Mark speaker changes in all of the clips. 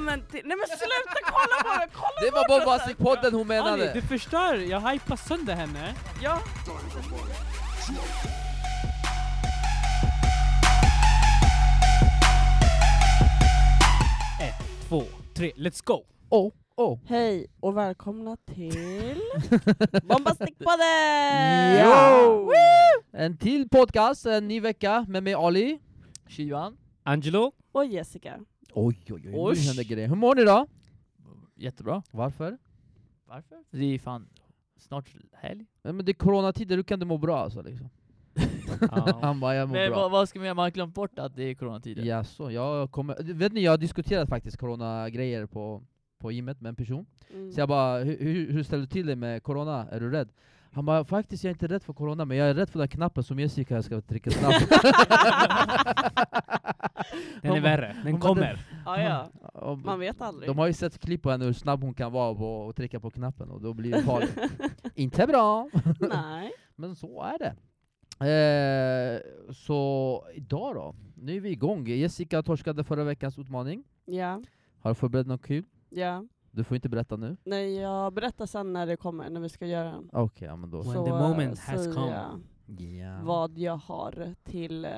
Speaker 1: men till... Nej men sluta kolla på mig! Kolla
Speaker 2: Det var
Speaker 1: bort
Speaker 2: Bombastic-podden hon
Speaker 3: Ali, du
Speaker 2: menade!
Speaker 3: förstör, jag hypar sönder henne.
Speaker 1: Ja.
Speaker 3: Ett, två, tre, let's go!
Speaker 2: Oh, oh.
Speaker 1: Hej och välkomna till
Speaker 2: Eh.
Speaker 1: Bombastic-podden!
Speaker 2: Yo!
Speaker 1: Woo!
Speaker 2: En till podcast, en ny vecka med mig Ali, Shivan.
Speaker 3: Angelo?
Speaker 1: Och Jessica.
Speaker 2: Oj, oj, oj, nu
Speaker 3: Osh.
Speaker 2: händer grejer. Hur mår ni då?
Speaker 4: Jättebra.
Speaker 2: Varför?
Speaker 4: Varför? Det är fan snart helg.
Speaker 2: Nej, men det är coronatider, du kan inte må bra alltså liksom. Han bara, jag mår
Speaker 4: Men
Speaker 2: bra.
Speaker 4: vad, vad ska man göra? Man har glömt bort att det är coronatider.
Speaker 2: Jaså, jag kommer... Vet ni, jag har diskuterat faktiskt corona-grejer på, på gymmet med en person.
Speaker 1: Mm.
Speaker 2: Så jag bara, hur, hur, hur ställer du till dig med corona? Är du rädd? Han bara, faktiskt jag är inte rädd för corona, men jag är rädd för den knappen som Jessica ska trycka snabbt.
Speaker 3: Den är värre, den
Speaker 2: hon
Speaker 3: kommer.
Speaker 1: Ja, ja.
Speaker 2: Och
Speaker 1: Man vet aldrig.
Speaker 2: De har ju sett klipp på henne hur snabb hon kan vara på att trycka på knappen, och då blir det farligt. inte bra!
Speaker 1: Nej.
Speaker 2: Men så är det. Eh, så idag då, nu är vi igång. Jessica torskade förra veckans utmaning.
Speaker 1: Ja.
Speaker 2: Har du förberett något kul?
Speaker 1: Ja.
Speaker 2: Du får inte berätta nu.
Speaker 1: Nej, jag berättar sen när det kommer, när vi ska göra den.
Speaker 2: Okej, ja, men då
Speaker 3: When
Speaker 2: så.
Speaker 3: the
Speaker 1: eh,
Speaker 3: moment has
Speaker 1: säger
Speaker 3: come.
Speaker 1: jag
Speaker 2: Ja.
Speaker 1: vad jag har till eh,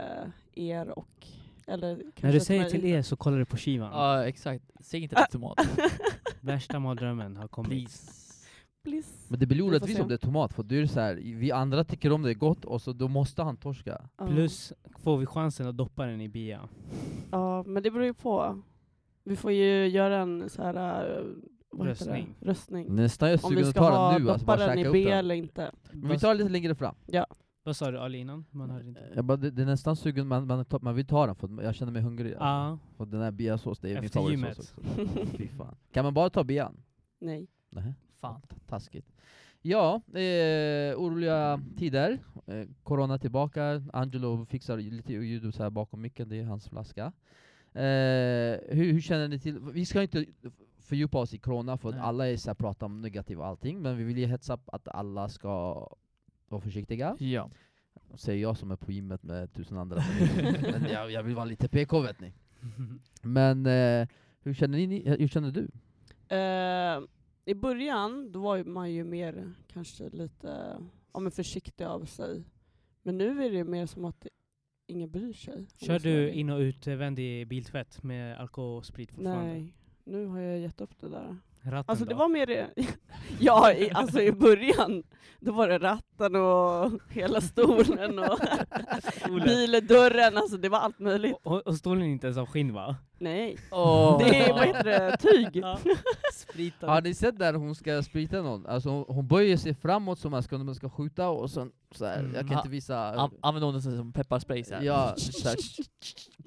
Speaker 1: er och... Eller
Speaker 3: När
Speaker 1: kanske
Speaker 3: du säger till er så kollar du på Shivan.
Speaker 4: Ja, exakt. Säg inte till tomat.
Speaker 3: Värsta mardrömmen har kommit.
Speaker 4: Please.
Speaker 1: Please.
Speaker 2: Men det blir
Speaker 1: får
Speaker 2: orättvist
Speaker 1: se.
Speaker 2: om det är tomat, för det är så här, vi andra tycker om det är gott, och så då måste han torska.
Speaker 1: Ja.
Speaker 3: Plus får vi chansen att doppa den i bia.
Speaker 1: Ja, men det beror ju på. Vi får ju göra en så här... eh, vad heter det?
Speaker 3: Röstning.
Speaker 1: Röstning.
Speaker 2: Nästan jag är
Speaker 1: Om vi
Speaker 2: sugen att
Speaker 1: ska
Speaker 2: ta
Speaker 1: ha
Speaker 2: den nu, alltså
Speaker 1: doppa
Speaker 2: bara
Speaker 1: den i
Speaker 2: käka upp
Speaker 1: B
Speaker 2: den.
Speaker 1: eller inte.
Speaker 2: Men vi tar Eh, lite längre fram.
Speaker 3: Vad sa du Ali innan? Man hörde inte.
Speaker 2: Jag bara, det, det är nästan sugen, man, man, tar- man vill ta den, för jag känner mig hungrig.
Speaker 3: Ja,
Speaker 2: alltså. Och den här biasås, det är min
Speaker 3: Efter
Speaker 2: favoritsås också. Fy fan. Kan man bara ta bian?
Speaker 1: Nej.
Speaker 2: Nej,
Speaker 4: Fan.
Speaker 2: taskigt. Ja, eh, oroliga tider. Eh, corona tillbaka, Angelo fixar ju lite ljud så här bakom micken, det är hans flaska. Eh, hur, hur känner ni till, vi ska inte fördjupa oss i corona för att
Speaker 4: Nej.
Speaker 2: alla är så här, pratar om negativt och allting, men vi vill ju hetsa upp att alla ska vara försiktiga.
Speaker 4: Ja.
Speaker 2: Säger jag som är på gymmet med tusen andra. men jag, jag vill vara lite PK vet ni. Men eh, hur, känner ni, hur känner du?
Speaker 1: Eh, I början då var ju man ju mer kanske lite ja, men försiktig av sig. Men nu är det ju mer som att ingen bryr sig. om
Speaker 3: Kör
Speaker 1: jag ska
Speaker 3: du
Speaker 1: vara
Speaker 3: in och utvändig biltvätt med alkohol och sprit fortfarande?
Speaker 1: Nej, nu har jag gett upp det där.
Speaker 3: Ratten
Speaker 1: Alltså det
Speaker 3: då?
Speaker 1: var mer... ja, i, alltså i början då var det ratten och hela stolen och bildörren, alltså det var allt möjligt.
Speaker 3: Och, och stolen är inte ens av skinn va?
Speaker 1: Nej,
Speaker 4: Oh.
Speaker 1: det är vad heter det, tyg.
Speaker 2: Har ni sett där hon ska sprita någon? Alltså hon, hon böjer sig framåt som man ska, när man ska skjuta och sen så här,
Speaker 3: Mm.
Speaker 2: jag kan inte visa...
Speaker 4: Använder den som pepparspray så här.
Speaker 2: ja, så här,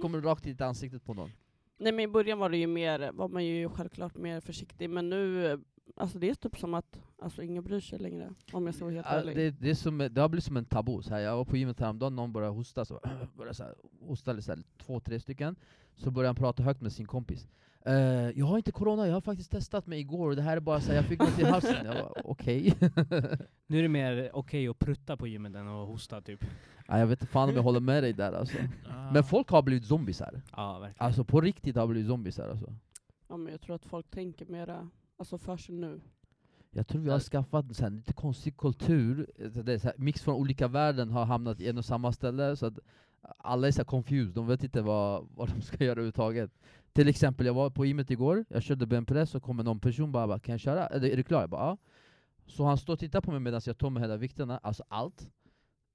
Speaker 2: kommer rakt i ansiktet på någon.
Speaker 1: Nej men i början var det ju mer, var man ju självklart mer försiktig men nu, eh, alltså det är typ som att alltså, ingen bryr sig längre om jag ska vara helt
Speaker 2: Ja,
Speaker 1: ärlig.
Speaker 2: det, det, är som, det har blivit som en tabu. Så här, jag var på gymmet häromdagen, någon började hosta, så, började så här, hostade så här, två, tre stycken, så började han prata högt med sin kompis. Eh, jag har inte corona, jag har faktiskt testat mig igår och det här är bara så här, jag fick något i halsen. Jag bara, okej.
Speaker 3: Nu är det mer okej att prutta på gymmet än att hosta typ.
Speaker 2: Nej, jag vet inte fan om jag håller med dig där alltså.
Speaker 4: Ah.
Speaker 2: Men folk har blivit zombisar.
Speaker 3: Ja verkligen.
Speaker 2: Alltså på riktigt har blivit zombisar alltså.
Speaker 1: Ja, men jag tror att folk tänker mera alltså för sig nu.
Speaker 2: Jag tror vi har
Speaker 4: Ja.
Speaker 2: skaffat en sån här lite konstig kultur, Eh, det är så här, mix från olika värden har hamnat i en och samma ställe, så att alla är så här confused, de vet inte vad, vad de ska göra överhuvudtaget. Till exempel, jag var på gymmet igår, jag körde benpress och kommer någon person bara, bara 'Kan jag köra? Är du, är du klar?' Jag bara 'Ja' Så han står och tittar på mig medan jag tar med hela vikterna, alltså allt.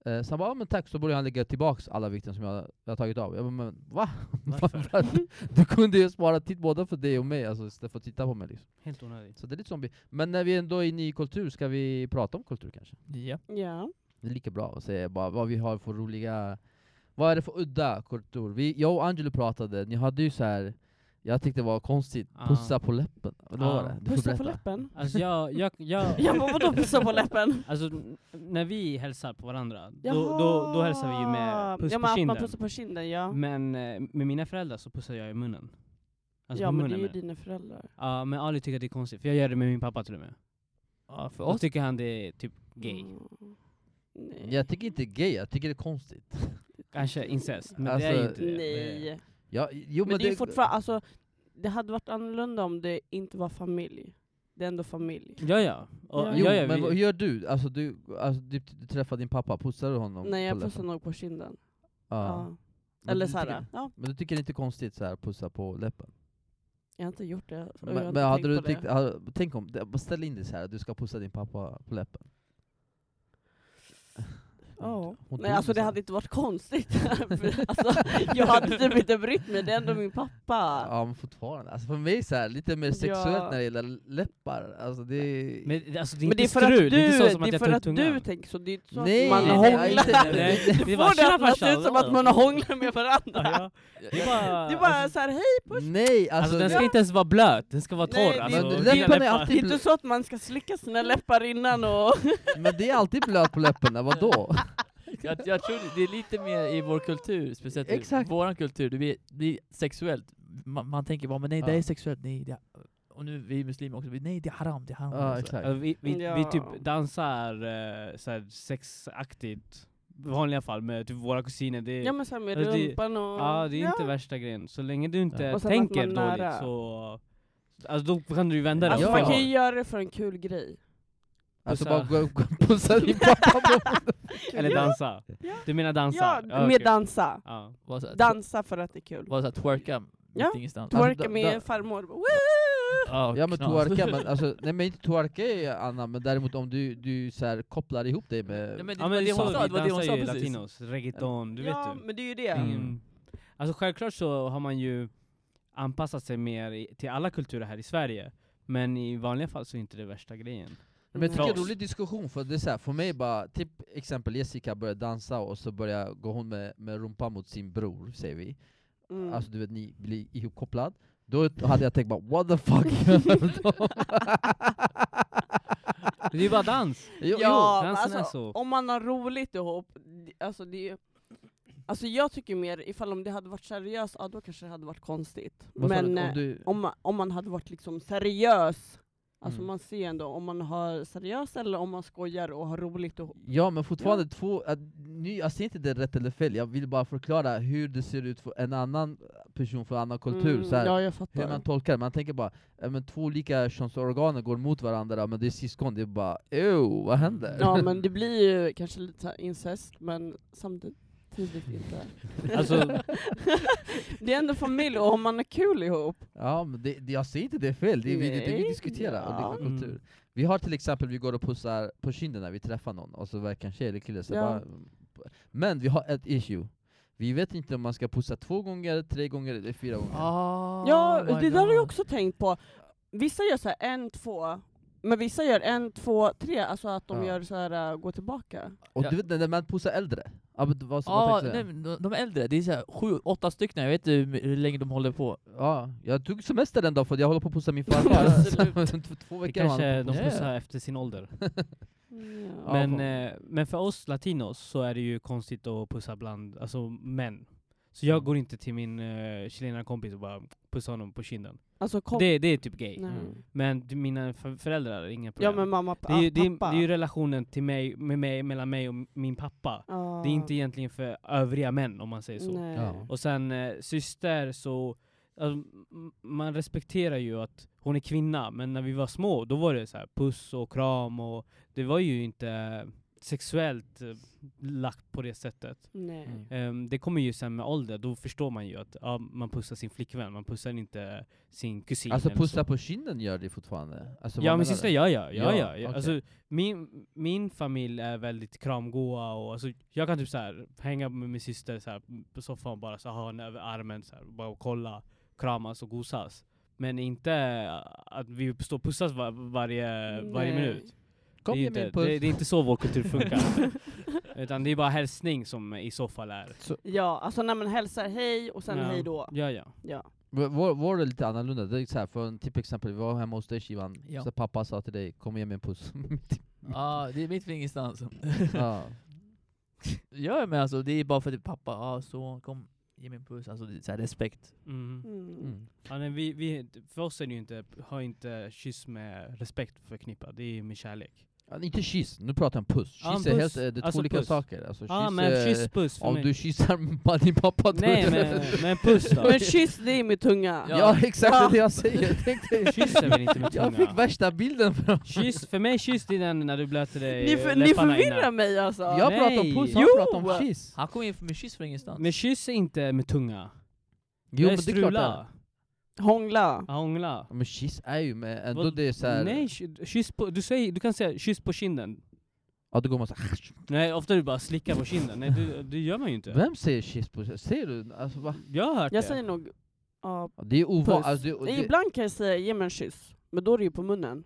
Speaker 2: Eh, Så han bara 'Ja men tack' så börjar han lägga tillbaks alla vikter som jag, jag har tagit av. Jag bara 'Men va?
Speaker 3: Varför?
Speaker 2: du kunde ju spara tid både för dig och mig, alltså, istället för att titta på mig liksom.
Speaker 3: Helt onödigt.
Speaker 2: Så det är lite zombie. Men när vi ändå är inne i kultur, ska vi prata om kultur kanske?
Speaker 4: Ja.
Speaker 1: Ja.
Speaker 2: Det är lika bra att säga bara vad vi har för roliga... Vad är det för udda kultur? Vi, jag och Angelo pratade, ni hade ju så här. Jag tyckte det var konstigt,
Speaker 3: Ah.
Speaker 2: pussa på läppen. Vad var
Speaker 3: Ah.
Speaker 2: det? Du får
Speaker 1: Pussa på
Speaker 2: berätta.
Speaker 1: läppen.
Speaker 3: Alltså jag, jag, jag
Speaker 1: Ja men vadå pussa på läppen?
Speaker 3: Alltså n- när vi hälsar på varandra, då, då, då hälsar vi ju med puss
Speaker 1: ja,
Speaker 3: på
Speaker 1: men
Speaker 3: kinden.
Speaker 1: Att man pussar på kinden ja.
Speaker 3: Men eh, med mina föräldrar så pussar jag i munnen. Alltså
Speaker 1: ja
Speaker 3: på
Speaker 1: men det
Speaker 3: munnen
Speaker 1: är ju
Speaker 3: menar jag.
Speaker 1: dina föräldrar.
Speaker 3: Ja men Ali tycker att det är konstigt, för jag gör det med min pappa till och med.
Speaker 4: Ja, för
Speaker 3: Då
Speaker 4: oss.
Speaker 3: tycker han det är typ gay.
Speaker 1: Mm. Nej.
Speaker 2: Jag tycker inte det är gay, jag tycker det är konstigt.
Speaker 3: Kanske incest, men
Speaker 2: Alltså,
Speaker 3: det är ju inte det.
Speaker 1: Nej.
Speaker 2: Jag, jo,
Speaker 1: Men, det är ju fortfarande, alltså det hade varit annorlunda om det inte var familj. Det är ändå familj.
Speaker 3: Ja, ja. Och,
Speaker 1: Ja.
Speaker 2: Jo,
Speaker 3: ja, ja,
Speaker 2: men
Speaker 3: vi-
Speaker 2: vad- hur gör du? Alltså du, alltså, du, du träffar din pappa, pussar du honom?
Speaker 1: Nej, jag
Speaker 2: på läppen?
Speaker 1: pussar nog på kinden.
Speaker 2: Ja.
Speaker 1: Ja.
Speaker 2: Men
Speaker 1: Eller
Speaker 2: du
Speaker 1: såhär,
Speaker 2: tycker-
Speaker 1: ja,
Speaker 2: Men du tycker det är inte konstigt så här pussa på läppen?
Speaker 1: jag har inte gjort det. och jag har
Speaker 2: Men,
Speaker 1: inte
Speaker 2: men hade
Speaker 1: tänkt
Speaker 2: du
Speaker 1: på det.
Speaker 2: tyckt, hade, tänk om, det- bara ställ in dig så här, du ska pussa din pappa på läppen.
Speaker 1: Ja.
Speaker 2: Hon
Speaker 1: Nej
Speaker 2: dog
Speaker 1: alltså det
Speaker 2: nästan.
Speaker 1: hade inte varit konstigt. För, alltså, jag hade typ inte brytt mig, det är ändå min pappa.
Speaker 2: Ja men fortfarande, alltså för mig så här, lite mer sexuellt
Speaker 1: Ja.
Speaker 2: när det gäller läppar, alltså det är...
Speaker 3: Men alltså det är
Speaker 1: Men det
Speaker 3: inte
Speaker 1: är för att du,
Speaker 3: strul, det är inte så som
Speaker 1: det
Speaker 3: att
Speaker 1: är
Speaker 3: jag
Speaker 1: för
Speaker 3: tar ut
Speaker 1: att du
Speaker 3: tungan.
Speaker 1: tänker så, det är inte så
Speaker 2: Nej,
Speaker 1: att
Speaker 2: nej,
Speaker 1: man
Speaker 2: nej,
Speaker 1: hånglar.
Speaker 2: inte-
Speaker 3: Nej, det
Speaker 1: Du
Speaker 3: är bara,
Speaker 1: får det
Speaker 3: "Tjena,
Speaker 1: att låta
Speaker 3: farsan."
Speaker 1: ut som att man hånglar med varandra.
Speaker 3: Ja, ja. Det är bara...
Speaker 1: Det är bara
Speaker 3: alltså,
Speaker 1: såhär, hej!
Speaker 2: Nej alltså,
Speaker 3: alltså den
Speaker 2: det-
Speaker 3: ska inte ens vara blöt, den ska vara
Speaker 1: Nej,
Speaker 3: torr.
Speaker 1: det-
Speaker 3: Alltså,
Speaker 2: Men
Speaker 3: dina
Speaker 2: läpparna är
Speaker 3: läppar-
Speaker 1: Det är
Speaker 2: alltid
Speaker 1: inte så att man ska slicka sina läppar innan och...
Speaker 2: men det är alltid blöt på läpparna, vadå?
Speaker 4: jag, jag tror det- det är lite mer i vår kultur, speciellt
Speaker 2: Exakt.
Speaker 4: i vår kultur, det blir, det blir sexuellt. Man, man tänker bara men nej det
Speaker 2: Ja.
Speaker 4: är sexuellt, nej det är, och nu vi är muslimer också, vi, nej det är haram, det är haram.
Speaker 2: Ja
Speaker 4: Alltså.
Speaker 2: exakt.
Speaker 3: Ja, vi, vi, vi
Speaker 1: Ja.
Speaker 3: typ dansar eh, såhär sexaktigt, i vanliga fall, med typ våra kusiner. Det,
Speaker 1: Ja men såhär med
Speaker 3: Alltså, det-
Speaker 1: rumpan och...
Speaker 3: ja, det är inte
Speaker 1: Ja.
Speaker 3: värsta grejen. Så länge du inte
Speaker 2: Ja.
Speaker 1: Och sen att
Speaker 3: tänker
Speaker 1: man
Speaker 3: dåligt
Speaker 1: nära.
Speaker 3: så... Alltså då kan du ju vända det.
Speaker 1: Alltså
Speaker 2: Ja.
Speaker 1: man kan ju göra det för en kul grej.
Speaker 2: Alltså
Speaker 3: pussar.
Speaker 2: bara gå gå och pussa din pappa på
Speaker 3: Eller dansa.
Speaker 1: Ja.
Speaker 3: Du menar dansa?
Speaker 1: Ja,
Speaker 3: okej.
Speaker 1: med dansa.
Speaker 3: Ja.
Speaker 4: Var så här,
Speaker 1: Dansa för att det är kul.
Speaker 4: var så här, twerka
Speaker 1: Ja.
Speaker 4: mitt ingenstans.
Speaker 2: Twer-
Speaker 1: Twerka
Speaker 2: da- da-
Speaker 1: med farmor. Woo!
Speaker 4: Ja,
Speaker 2: Ja men
Speaker 4: knas.
Speaker 2: twerka, men alltså, nej men inte twerka är Anna, men däremot om du, du så här, kopplar ihop dig med...
Speaker 4: Nej, men det,
Speaker 3: ja men det
Speaker 4: det
Speaker 3: är
Speaker 4: hon
Speaker 3: så,
Speaker 4: sa,
Speaker 3: vi
Speaker 4: det var det hon
Speaker 3: dansar
Speaker 4: sa
Speaker 3: ju
Speaker 4: precis.
Speaker 3: latinos, reggaeton, du
Speaker 1: Ja
Speaker 3: vet du.
Speaker 1: men det är ju det.
Speaker 2: Mm.
Speaker 3: Ingen- Alltså självklart så har man ju anpassat sig mer i, till alla kulturer här i Sverige. Men i vanliga fall så är inte det värsta grejen.
Speaker 2: Men jag tycker det är en
Speaker 3: Knas.
Speaker 2: rolig diskussion, för det är så här, för mig bara, typ exempel Jessica börjar dansa och så börjar gå hon med, med rumpan mot sin bror, säger vi.
Speaker 1: Mm.
Speaker 2: Alltså du vet, ni blir ihopkopplad. Då hade jag tänkt bara what the fuck
Speaker 3: Det är ju bara dans!
Speaker 2: jo,
Speaker 1: ja, men
Speaker 3: dansen är
Speaker 1: alltså,
Speaker 3: så.
Speaker 1: om man har roligt ihop, d- alltså det är ju... Alltså jag tycker mer, ifall om det hade varit seriöst, ja då kanske det hade varit konstigt.
Speaker 2: jo. Vad sa
Speaker 1: Men
Speaker 2: du,
Speaker 1: eh,
Speaker 2: om du,
Speaker 1: om, ma- om man hade varit liksom seriös, alltså
Speaker 2: Mm.
Speaker 1: man ser ändå om man har seriös eller om man skojar och har roligt ihop.
Speaker 2: Ja men fortfarande två, att, nu, jag ser inte det rätt eller fel, jag vill bara förklara hur det ser ut för en annan person från en annan kultur.
Speaker 1: Mm,
Speaker 2: så här,
Speaker 1: ja jag
Speaker 2: Hur
Speaker 1: fattar.
Speaker 2: man tolkar det, man tänker bara ja, men två olika könsorgan går mot varandra men det är syskon, det är bara ew, vad händer?
Speaker 1: Ja men det blir ju kanske lite så här incest, men samtidigt inte.
Speaker 3: Alltså,
Speaker 1: Det är ändå familj och om man har kul ihop.
Speaker 2: Ja, men det, det, jag säger inte det är fel, det är vi, det, är det vi
Speaker 1: Nej,
Speaker 2: diskuterar,
Speaker 1: ja.
Speaker 2: olika kultur.
Speaker 3: Mm.
Speaker 2: Vi har till exempel, vi går och pussar på kinden när vi träffar någon, och så verkar en tjej eller kille, så
Speaker 1: Ja.
Speaker 2: bara, men vi har ett issue. Vi vet inte om man ska pussa två gånger, tre gånger eller fyra gånger.
Speaker 4: Ah,
Speaker 1: Ja,
Speaker 3: Oh
Speaker 4: my
Speaker 1: det där har jag
Speaker 4: God.
Speaker 1: också tänkt på. Vissa gör så här en, två, men vissa gör en, två, tre, alltså att de
Speaker 2: Ja.
Speaker 1: gör så här, äh, gå tillbaka.
Speaker 2: Och
Speaker 4: Ja.
Speaker 2: du vet när man pussar äldre, ja, men, vad,
Speaker 4: Ja,
Speaker 2: vad
Speaker 4: Ah, nej,
Speaker 2: nej,
Speaker 4: men de, de är äldre, det är så här, sju, åtta stycken, jag vet inte hur hur länge de håller på.
Speaker 2: ja, jag tog semester den dagen för att jag håller på att pussa min farfar. Så, två, två
Speaker 3: det
Speaker 2: veckor har
Speaker 3: kanske
Speaker 2: han hållit
Speaker 3: de
Speaker 2: på att pussa.
Speaker 3: pussar efter sin ålder.
Speaker 2: Ja,
Speaker 3: Men,
Speaker 2: fan.
Speaker 3: eh, men för oss latinos så är det ju konstigt att pussa bland, alltså män. Så
Speaker 2: Mm.
Speaker 3: jag går inte till min eh, chilenarkompis och bara pussar honom på kinden.
Speaker 1: Alltså kom...
Speaker 3: Det, det är typ gay.
Speaker 1: Nej.
Speaker 2: Mm.
Speaker 3: Men till mina för- föräldrar, är inga
Speaker 1: Ja
Speaker 3: problem.
Speaker 1: men mamma,
Speaker 3: det, är ju, det, är, det
Speaker 1: pappa.
Speaker 3: är ju relationen till mig, med mig, mellan mig och min pappa.
Speaker 1: Ja.
Speaker 3: Det är inte egentligen för övriga män om man säger så.
Speaker 1: Nej.
Speaker 2: Ja.
Speaker 3: Och sen eh, syster så, alltså, m- man respekterar ju att hon är kvinna, men när vi var små då var det så här puss och kram och det var ju inte sexuellt eh, lagt på det sättet.
Speaker 1: Nej.
Speaker 4: Mm.
Speaker 3: Ehm, det kommer ju sen med ålder, då förstår man ju att ja, man pussar sin flickvän, man pussar inte sin kusin.
Speaker 2: Alltså
Speaker 3: eller så.
Speaker 2: pussa på kinden gör det fortfarande? Alltså,
Speaker 3: Ja
Speaker 2: vad
Speaker 3: min
Speaker 2: menar
Speaker 3: syster
Speaker 2: du?
Speaker 3: gör ja, ja,
Speaker 2: Ja,
Speaker 3: ja. ja,
Speaker 2: okej.
Speaker 3: Alltså, min, min familj är väldigt kramgoa och alltså, jag kan typ så här, hänga med min syster så här, på soffan och bara så här, ha henne över armen så här, bara och kolla, kramas och gosas. Men inte eh, att vi står och pussas var, varje, varje
Speaker 1: Nej.
Speaker 3: minut.
Speaker 2: Kom
Speaker 3: det, är
Speaker 2: ge mig
Speaker 3: inte,
Speaker 2: en puss.
Speaker 3: det, det är inte så vår kultur funkar. Utan det är bara hälsning som i så fall är.
Speaker 1: Ja, alltså när man hälsar hej och sen
Speaker 3: Ja.
Speaker 1: hej då.
Speaker 3: Ja, ja.
Speaker 1: Ja.
Speaker 2: Vår- Vår, vår är lite annorlunda, det är så här, för en typ exempel, vi var hemma hos dig Shivan,
Speaker 4: Ja.
Speaker 2: så pappa sa till dig 'Kom ge mig en puss'
Speaker 4: Ja, Ah, det är mitt från ingenstans.
Speaker 2: ja.
Speaker 4: ja, men alltså det är bara för att pappa, ja ah, son, kom, ge mig en puss. Alltså det är så här, respekt.
Speaker 3: Mm.
Speaker 1: Mm.
Speaker 2: mm.
Speaker 3: Ja, nej, vi, vi, för oss är det ju inte, har inte kyss med respekt förknippat, det är ju med kärlek.
Speaker 2: Ja, inte kyss, nu pratar jag om puss. Kyss
Speaker 3: Ja, en
Speaker 2: är,
Speaker 3: puss.
Speaker 2: helt, eh, det är två
Speaker 3: Alltså
Speaker 2: olika
Speaker 3: puss.
Speaker 2: saker. Alltså,
Speaker 3: Ja ah,
Speaker 2: kyss
Speaker 3: men
Speaker 2: är-
Speaker 3: kyss puss för
Speaker 2: Om
Speaker 3: mig.
Speaker 2: du kysser bara din pappa då är
Speaker 3: Nej
Speaker 2: det-
Speaker 3: men, men puss då.
Speaker 1: Men kyss, det är med tunga.
Speaker 2: Ja, exakt det är det jag säger. Jag, tänkte,
Speaker 3: Kyss är väl inte med
Speaker 2: jag fick
Speaker 3: tunga?
Speaker 2: värsta bilden från...
Speaker 3: Kyss, för mig kyss det är den när du blöter dig
Speaker 1: Ni, för, ni
Speaker 3: läpparna
Speaker 1: förvirrar
Speaker 3: innan.
Speaker 1: mig alltså.
Speaker 2: Jag pratar om
Speaker 3: Nej.
Speaker 2: puss, han
Speaker 1: Jo!
Speaker 2: pratar om kyss.
Speaker 4: Han kom in med kyss från ingenstans.
Speaker 3: Men kyss är inte med tunga.
Speaker 2: Jo
Speaker 3: det är
Speaker 2: men det är klart det är.
Speaker 3: strula.
Speaker 1: Hångla.
Speaker 3: Hångla.
Speaker 2: Ja, Men kyss är ju med, ändå
Speaker 3: Vad-
Speaker 2: det är såhär...
Speaker 3: Nej, ky- kyss på, du, säger, du kan säga kyss på kinden.
Speaker 2: Ja då går man såhär...
Speaker 3: Nej, ofta du bara slickar på kinden. Nej, det, det gör man ju inte.
Speaker 2: Vem säger kyss på Ser du? Alltså, va?
Speaker 3: Jag har hört
Speaker 1: Jag
Speaker 3: det.
Speaker 1: säger nog... Ja,
Speaker 2: Det är
Speaker 1: puss.
Speaker 2: ovanligt. Alltså, det, det,
Speaker 1: Ibland kan jag säga ge mig en kyss, men då är det ju på munnen.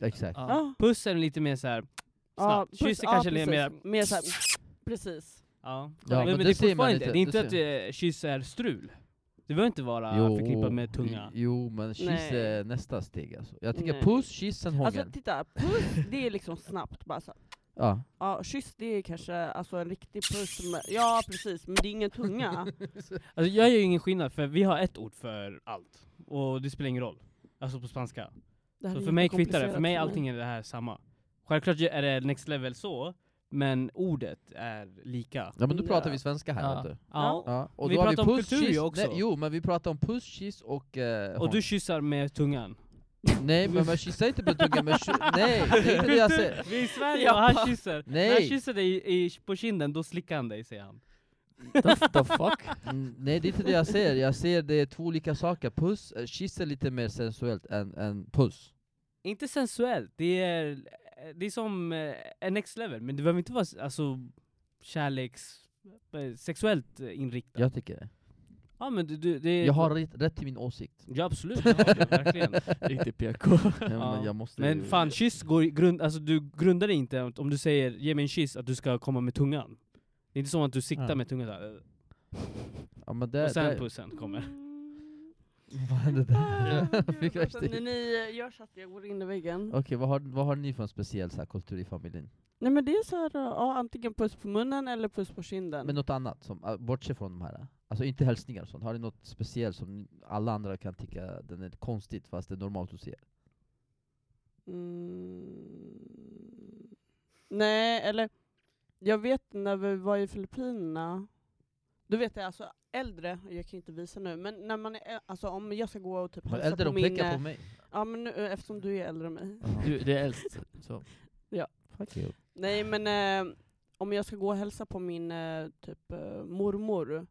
Speaker 2: exakt.
Speaker 3: Ja.
Speaker 1: Ja.
Speaker 3: Puss är lite mer såhär,
Speaker 1: Ja,
Speaker 3: snabbt. kyss är kanske lite mer...
Speaker 1: Ah, precis. mer så här, precis.
Speaker 3: Ja.
Speaker 2: Ja,
Speaker 3: men,
Speaker 2: men
Speaker 3: men det,
Speaker 2: det
Speaker 3: är
Speaker 2: ser man
Speaker 3: fortfarande
Speaker 2: inte,
Speaker 3: inte. Det är inte
Speaker 2: det
Speaker 3: att eh, kyss är strul. Det behöver inte vara förknippat med tunga.
Speaker 2: Jo men kyss
Speaker 1: Nej.
Speaker 2: är nästa steg alltså. Jag tycker
Speaker 1: Nej.
Speaker 2: puss, kyss, sen hångel.
Speaker 1: Alltså titta, puss det är liksom snabbt bara så här.
Speaker 2: ja.
Speaker 1: Ja, kyss det är kanske alltså, en riktig puss, med, ja precis, men det är ingen tunga.
Speaker 3: Alltså, jag gör ju ingen skillnad för vi har ett ord för allt. Och det spelar ingen roll. Alltså på spanska.
Speaker 1: Det här
Speaker 3: Så
Speaker 1: är
Speaker 3: för mig kvittar det, för
Speaker 1: jättekomplicerat
Speaker 3: mig allting är det här samma. Självklart är det next level så, men ordet är lika.
Speaker 2: ja men nu pratar vi
Speaker 1: Ja.
Speaker 2: svenska här
Speaker 4: Ja.
Speaker 2: vet du.
Speaker 1: Ja.
Speaker 2: Ja. Och
Speaker 3: Vi
Speaker 2: då har
Speaker 3: pratar om
Speaker 2: puss,
Speaker 3: kultur ju
Speaker 2: kyss-
Speaker 3: också.
Speaker 2: Nej, jo men vi pratar om puss, kyss och... Eh,
Speaker 3: Och
Speaker 2: hångel.
Speaker 3: du kyssar med tungan.
Speaker 2: Nej men man kissar inte på tungan, men ky- nej det är inte det jag säger.
Speaker 3: Vi är i Sverige och han kysser. När han
Speaker 2: Nej.
Speaker 3: kysser dig i, i, på kinden, då slickar han dig säger han.
Speaker 4: The, the fuck?
Speaker 2: Mm, Nej det är inte det jag säger, jag säger det är två olika saker. Puss, eh, kyss är lite mer sensuellt än, än puss.
Speaker 3: Inte sensuellt, det är, det är som eh, en next level, men det behöver inte vara s- alltså, kärleks... eh, sexuellt eh, inriktat. Ja,
Speaker 2: Jag tycker det.
Speaker 3: men du, du, det är,
Speaker 2: Jag har rätt, rätt till min åsikt.
Speaker 3: Ja absolut, jag har det, verkligen.
Speaker 4: Riktigt PK.
Speaker 2: Ja,
Speaker 3: Ja.
Speaker 2: Men, jag måste
Speaker 3: Men fan, kyss går i grund, alltså du grundar dig inte att om du säger 'ge mig en kyss' att du ska komma med tungan. Det är inte som att du siktar
Speaker 2: Ja.
Speaker 3: med tungan där,
Speaker 2: ja, men där,
Speaker 3: och sen
Speaker 2: där,
Speaker 3: pussen kommer.
Speaker 2: Vad hände där?
Speaker 1: Ja,
Speaker 2: Jag fick
Speaker 1: gud,
Speaker 2: värsta-
Speaker 1: Ah, vänta, ni, ni eh, gör så att jag går in i väggen.
Speaker 2: Okej, vad har, vad har ni för en speciell så här, kultur i familjen?
Speaker 1: Nej men det är så här, ja, antingen puss på munnen eller puss på kinden.
Speaker 2: Men något annat, som, äh, bortsett från de här? äh, Alltså inte hälsningar och sånt, har ni något speciellt som ni- alla andra kan tycka den är konstigt fast det är normalt att se?
Speaker 1: Mm. Nej, eller jag vet när vi var i Filippinerna, då vet jag alltså äldre, jag kan inte visa nu, men när man är, ä- alltså om jag ska gå och typ
Speaker 2: Men
Speaker 1: hälsa
Speaker 2: äldre
Speaker 1: på
Speaker 2: de
Speaker 1: min...
Speaker 2: pekar på
Speaker 1: eh,
Speaker 2: mig.
Speaker 1: Ja men nu, eftersom du är äldre än mig.
Speaker 4: Du, det är äldst. Så.
Speaker 2: Fuck you.
Speaker 1: Nej men eh, om jag ska gå och hälsa på min eh, typ eh, mormor,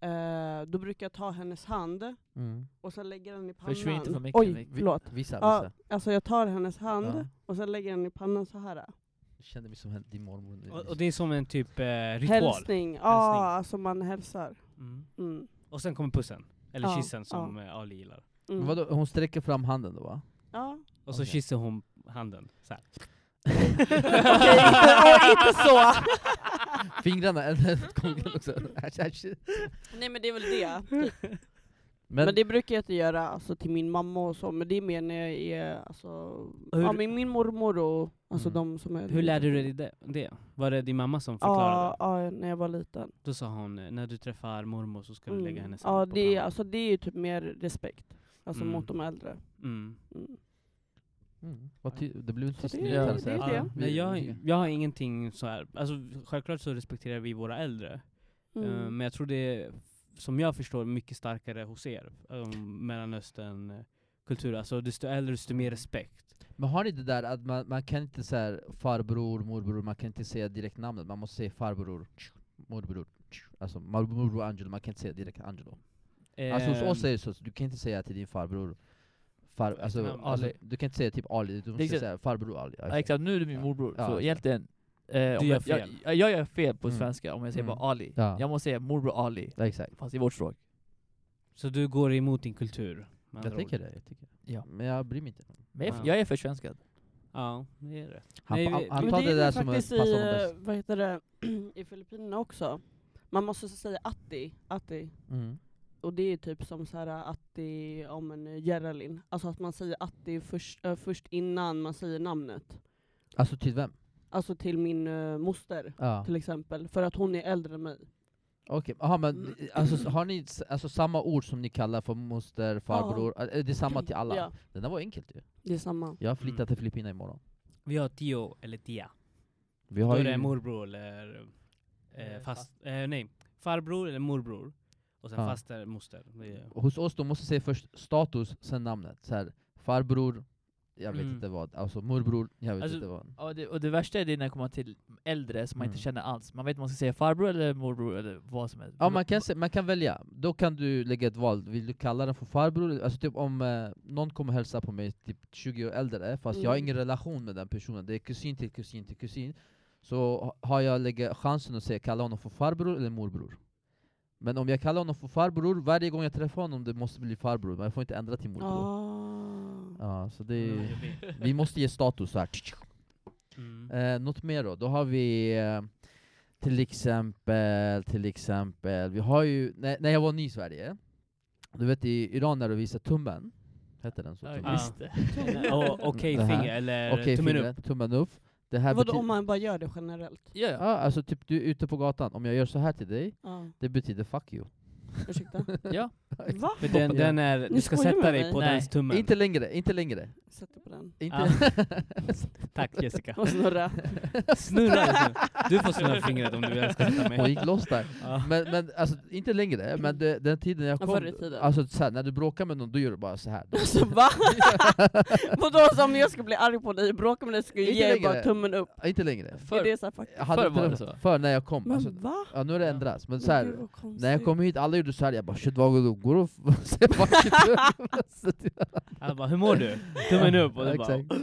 Speaker 1: eh, då brukar jag ta hennes hand
Speaker 2: Mm.
Speaker 1: och sen lägger den i pannan.
Speaker 4: Försvinn inte från micken,
Speaker 1: Oj,
Speaker 4: Rick.
Speaker 1: förlåt.
Speaker 2: Vissa,
Speaker 1: Ja.
Speaker 2: vissa.
Speaker 1: Alltså jag tar hennes hand
Speaker 2: Ja.
Speaker 1: och sen lägger jag den i pannan så här.
Speaker 2: Jag kände mig som hen- din mormor. nu.
Speaker 3: Och, och det är som en typ eh, ritual.
Speaker 1: Hälsning, ja
Speaker 3: Hälsning.
Speaker 1: alltså man hälsar.
Speaker 3: Mm.
Speaker 1: Mm.
Speaker 3: Och sen kommer pussen, eller
Speaker 1: Ja,
Speaker 3: kyssen som eh, Ali gillar.
Speaker 1: Mm.
Speaker 2: Men vadå, hon sträcker fram handen då va?
Speaker 1: Ja.
Speaker 3: Och så
Speaker 2: Okej.
Speaker 3: kysser hon handen så här.
Speaker 1: Okej, inte, åh, inte så!
Speaker 2: Fingrarna, en gången också. Äsch, äsch.
Speaker 1: Nej men det är väl det. typ.
Speaker 2: Men,
Speaker 1: Men, det brukar jag inte göra alltså, till min mamma och så, men det är mer när jag är alltså,
Speaker 3: Hur-
Speaker 1: ja, min, min mormor och alltså,
Speaker 2: Mm.
Speaker 1: de som är...
Speaker 3: Hur lärde du dig det- det? Var det din mamma som förklarade?
Speaker 1: Ja, ja, när jag var liten.
Speaker 3: Då sa hon, eh, när du träffar mormor så ska du lägga
Speaker 1: Mm.
Speaker 3: hennes hand
Speaker 1: Ja,
Speaker 3: på
Speaker 1: det, är,
Speaker 3: pannan."
Speaker 1: alltså, det är ju typ mer respekt. Alltså
Speaker 3: Mm.
Speaker 1: mot de äldre.
Speaker 3: Mm.
Speaker 1: Mm.
Speaker 2: mm, vad ty- det blev inte
Speaker 1: Så
Speaker 2: tyst
Speaker 1: det-
Speaker 2: nu,
Speaker 4: det-
Speaker 2: kan jag
Speaker 4: det
Speaker 2: säga.
Speaker 1: är det.
Speaker 2: Ja, vi-
Speaker 3: Nej, jag,
Speaker 2: vi-
Speaker 3: har- jag har ingenting så här. Alltså, självklart så respekterar vi våra äldre. Eh,
Speaker 1: Mm.
Speaker 3: Men jag tror det är, som jag förstår, mycket starkare hos er. Um, Mellanöstern-kultur. Alltså desto äldre, desto mer respekt.
Speaker 2: Men har ni det där att man, man kan inte säga farbror, morbror, man kan inte säga direkt namnet, man måste säga farbror, morbror. Alltså mar- morbror Angelo, man kan inte säga direkt Angelo. Alltså hos
Speaker 1: Ehm.
Speaker 3: Ehm,
Speaker 2: oss är det så, att du kan inte säga till din farbror far, alltså,
Speaker 3: Efternamn.
Speaker 2: alltså,
Speaker 4: Ali.
Speaker 2: du kan inte säga typ Ali, du måste
Speaker 4: Exakt.
Speaker 2: säga farbror Ali.
Speaker 4: Ja, exakt, nu är du min
Speaker 2: Ja.
Speaker 4: morbror.
Speaker 2: Ja,
Speaker 4: så
Speaker 2: exakt.
Speaker 4: egentligen, eh, om
Speaker 3: gör
Speaker 4: jag, jag,
Speaker 3: fel.
Speaker 4: jag, jag gör fel på
Speaker 2: Mm.
Speaker 4: svenska om jag säger
Speaker 2: Mm.
Speaker 4: bara Ali.
Speaker 2: Ja.
Speaker 4: Jag måste säga morbror Ali,
Speaker 2: Ja, exakt.
Speaker 4: fast i vårt språk.
Speaker 3: Så du går emot din kultur? med
Speaker 2: Jag
Speaker 3: andra
Speaker 2: tycker
Speaker 3: ord.
Speaker 2: det, jag tycker det.
Speaker 4: Ja.
Speaker 2: Men jag bryr mig inte.
Speaker 4: Men jag,
Speaker 3: Ja.
Speaker 4: är- jag är försvenskad.
Speaker 3: Ja, det är rätt.
Speaker 2: Han,
Speaker 3: Nej,
Speaker 2: han,
Speaker 3: vi-
Speaker 2: han
Speaker 1: Men
Speaker 2: tar
Speaker 1: det
Speaker 2: det,
Speaker 1: är
Speaker 2: där
Speaker 1: väl
Speaker 2: som
Speaker 1: faktiskt
Speaker 2: passar
Speaker 1: i,
Speaker 2: honom bäst.
Speaker 1: eh, vad heter det, i Filippinerna också. Man måste säga atti, atti.
Speaker 2: Mm.
Speaker 1: Och det är typ som så här atti, om en Geralin. Alltså att man säger atti först, eh, först innan man säger namnet.
Speaker 2: Alltså till vem?
Speaker 1: Alltså till min eh, moster
Speaker 2: Ja.
Speaker 1: till exempel, för att hon är äldre än mig.
Speaker 2: Okej, aha, men alltså, har ni s- alltså, samma ord som ni kallar för moster, farbror, är det samma till alla?
Speaker 1: Ja,
Speaker 2: Den där var enkelt ju.
Speaker 1: det är samma.
Speaker 3: Mm.
Speaker 2: Jag flyttar till Filippinerna imorgon.
Speaker 3: Vi har tio eller tia.
Speaker 2: Vi
Speaker 3: Då
Speaker 2: har
Speaker 3: är det
Speaker 2: ju...
Speaker 3: morbror eller eh,
Speaker 4: Eh,
Speaker 3: fast, eh, nej, farbror eller morbror. Och sen
Speaker 2: Ja.
Speaker 3: faster, moster. Det är-
Speaker 2: Hos oss då måste jag säga först status, sen namnet. Så här, farbror, jag vet
Speaker 3: Mm.
Speaker 2: inte vad. Alltså morbror, jag vet
Speaker 3: Alltså,
Speaker 2: inte vad.
Speaker 4: Ja, det, och det värsta är det när det kommer till äldre som man
Speaker 2: Mm.
Speaker 4: inte känner alls. Man vet inte om man ska säga farbror eller morbror eller vad som helst.
Speaker 2: Ja man kan, se, man kan välja, då kan du lägga ett val, vill du kalla den för farbror? Alltså typ om eh, någon kommer hälsa på mig, typ 20 år äldre, fast jag har
Speaker 1: Mm.
Speaker 2: ingen relation med den personen, det är kusin till kusin till kusin Så ha- har jag lägga chansen att säga, kalla honom för farbror eller morbror? Men om jag kallar honom för farbror, varje gång jag träffar honom det måste bli farbror, men jag får inte ändra till morbror
Speaker 1: Ah.
Speaker 2: Ja, så det
Speaker 3: Mm,
Speaker 2: är,
Speaker 3: jobbigt.
Speaker 2: vi måste ge status så här.
Speaker 3: Mm.
Speaker 2: Eh, något mer då? Då har vi eh, till exempel, till exempel, vi har ju, när, när jag var ny i Sverige, du vet i Iran när du visar tummen, hette den så?
Speaker 4: Ja,
Speaker 2: tummen?
Speaker 4: just det.
Speaker 3: Och Okej
Speaker 2: Det här.
Speaker 3: finger eller
Speaker 2: Okej,
Speaker 3: tummen upp.
Speaker 2: fingret, tummen upp. Det här
Speaker 1: Vadå
Speaker 2: betyder,
Speaker 1: om man bara gör det generellt?
Speaker 4: Ja, ja.
Speaker 2: ja, alltså typ du är ute på gatan, om jag gör så här till dig,
Speaker 1: Ja,
Speaker 2: det betyder 'fuck you'
Speaker 1: ursäkta?
Speaker 4: ja.
Speaker 1: Va?
Speaker 3: För den,
Speaker 2: Ja.
Speaker 3: den är, du
Speaker 1: Ni
Speaker 3: ska
Speaker 1: skojar
Speaker 3: sätta
Speaker 1: med
Speaker 3: dig
Speaker 1: mig?
Speaker 3: på
Speaker 4: Nej.
Speaker 3: dens tummen.
Speaker 2: Inte längre, inte längre.
Speaker 1: Sätter på den.
Speaker 2: Inte.
Speaker 3: Tack Jessica.
Speaker 1: Och snurra.
Speaker 3: Snurra just nu. Du får snurra fingret om du vill ska sätta
Speaker 4: Ah.
Speaker 3: mig.
Speaker 2: Hon gick loss där.
Speaker 3: Ja.
Speaker 2: Men, men alltså, inte längre, men det, den tiden jag
Speaker 1: Ja,
Speaker 2: kom,
Speaker 1: förr i tiden.
Speaker 2: alltså så här, när du bråkar med någon, då gör du bara så här.
Speaker 1: Alltså va? Vadå så om jag skulle bli arg på dig och bråka med dig skulle jag
Speaker 2: Inte
Speaker 1: ge dig bara
Speaker 2: längre.
Speaker 1: tummen upp?
Speaker 2: Inte längre.
Speaker 1: Är
Speaker 4: Förr,
Speaker 1: det så här faktiskt?
Speaker 2: Jag hade
Speaker 4: Förr
Speaker 2: inte
Speaker 4: var
Speaker 2: den-
Speaker 4: det så.
Speaker 2: Förr när jag kom,
Speaker 1: Men
Speaker 2: alltså,
Speaker 1: va?
Speaker 2: ja, nu har det
Speaker 4: Ja.
Speaker 2: ändrats, men
Speaker 1: Men
Speaker 2: så här,
Speaker 1: gud, vad
Speaker 2: när
Speaker 1: konstigt.
Speaker 2: jag kom hit, alla gjorde såhär, jag bara 'shit vad går och säger fuck it." Så det-
Speaker 3: Alla bara, hur mår du? Tummen upp. Och
Speaker 2: Ja,
Speaker 3: du bara,
Speaker 2: exakt.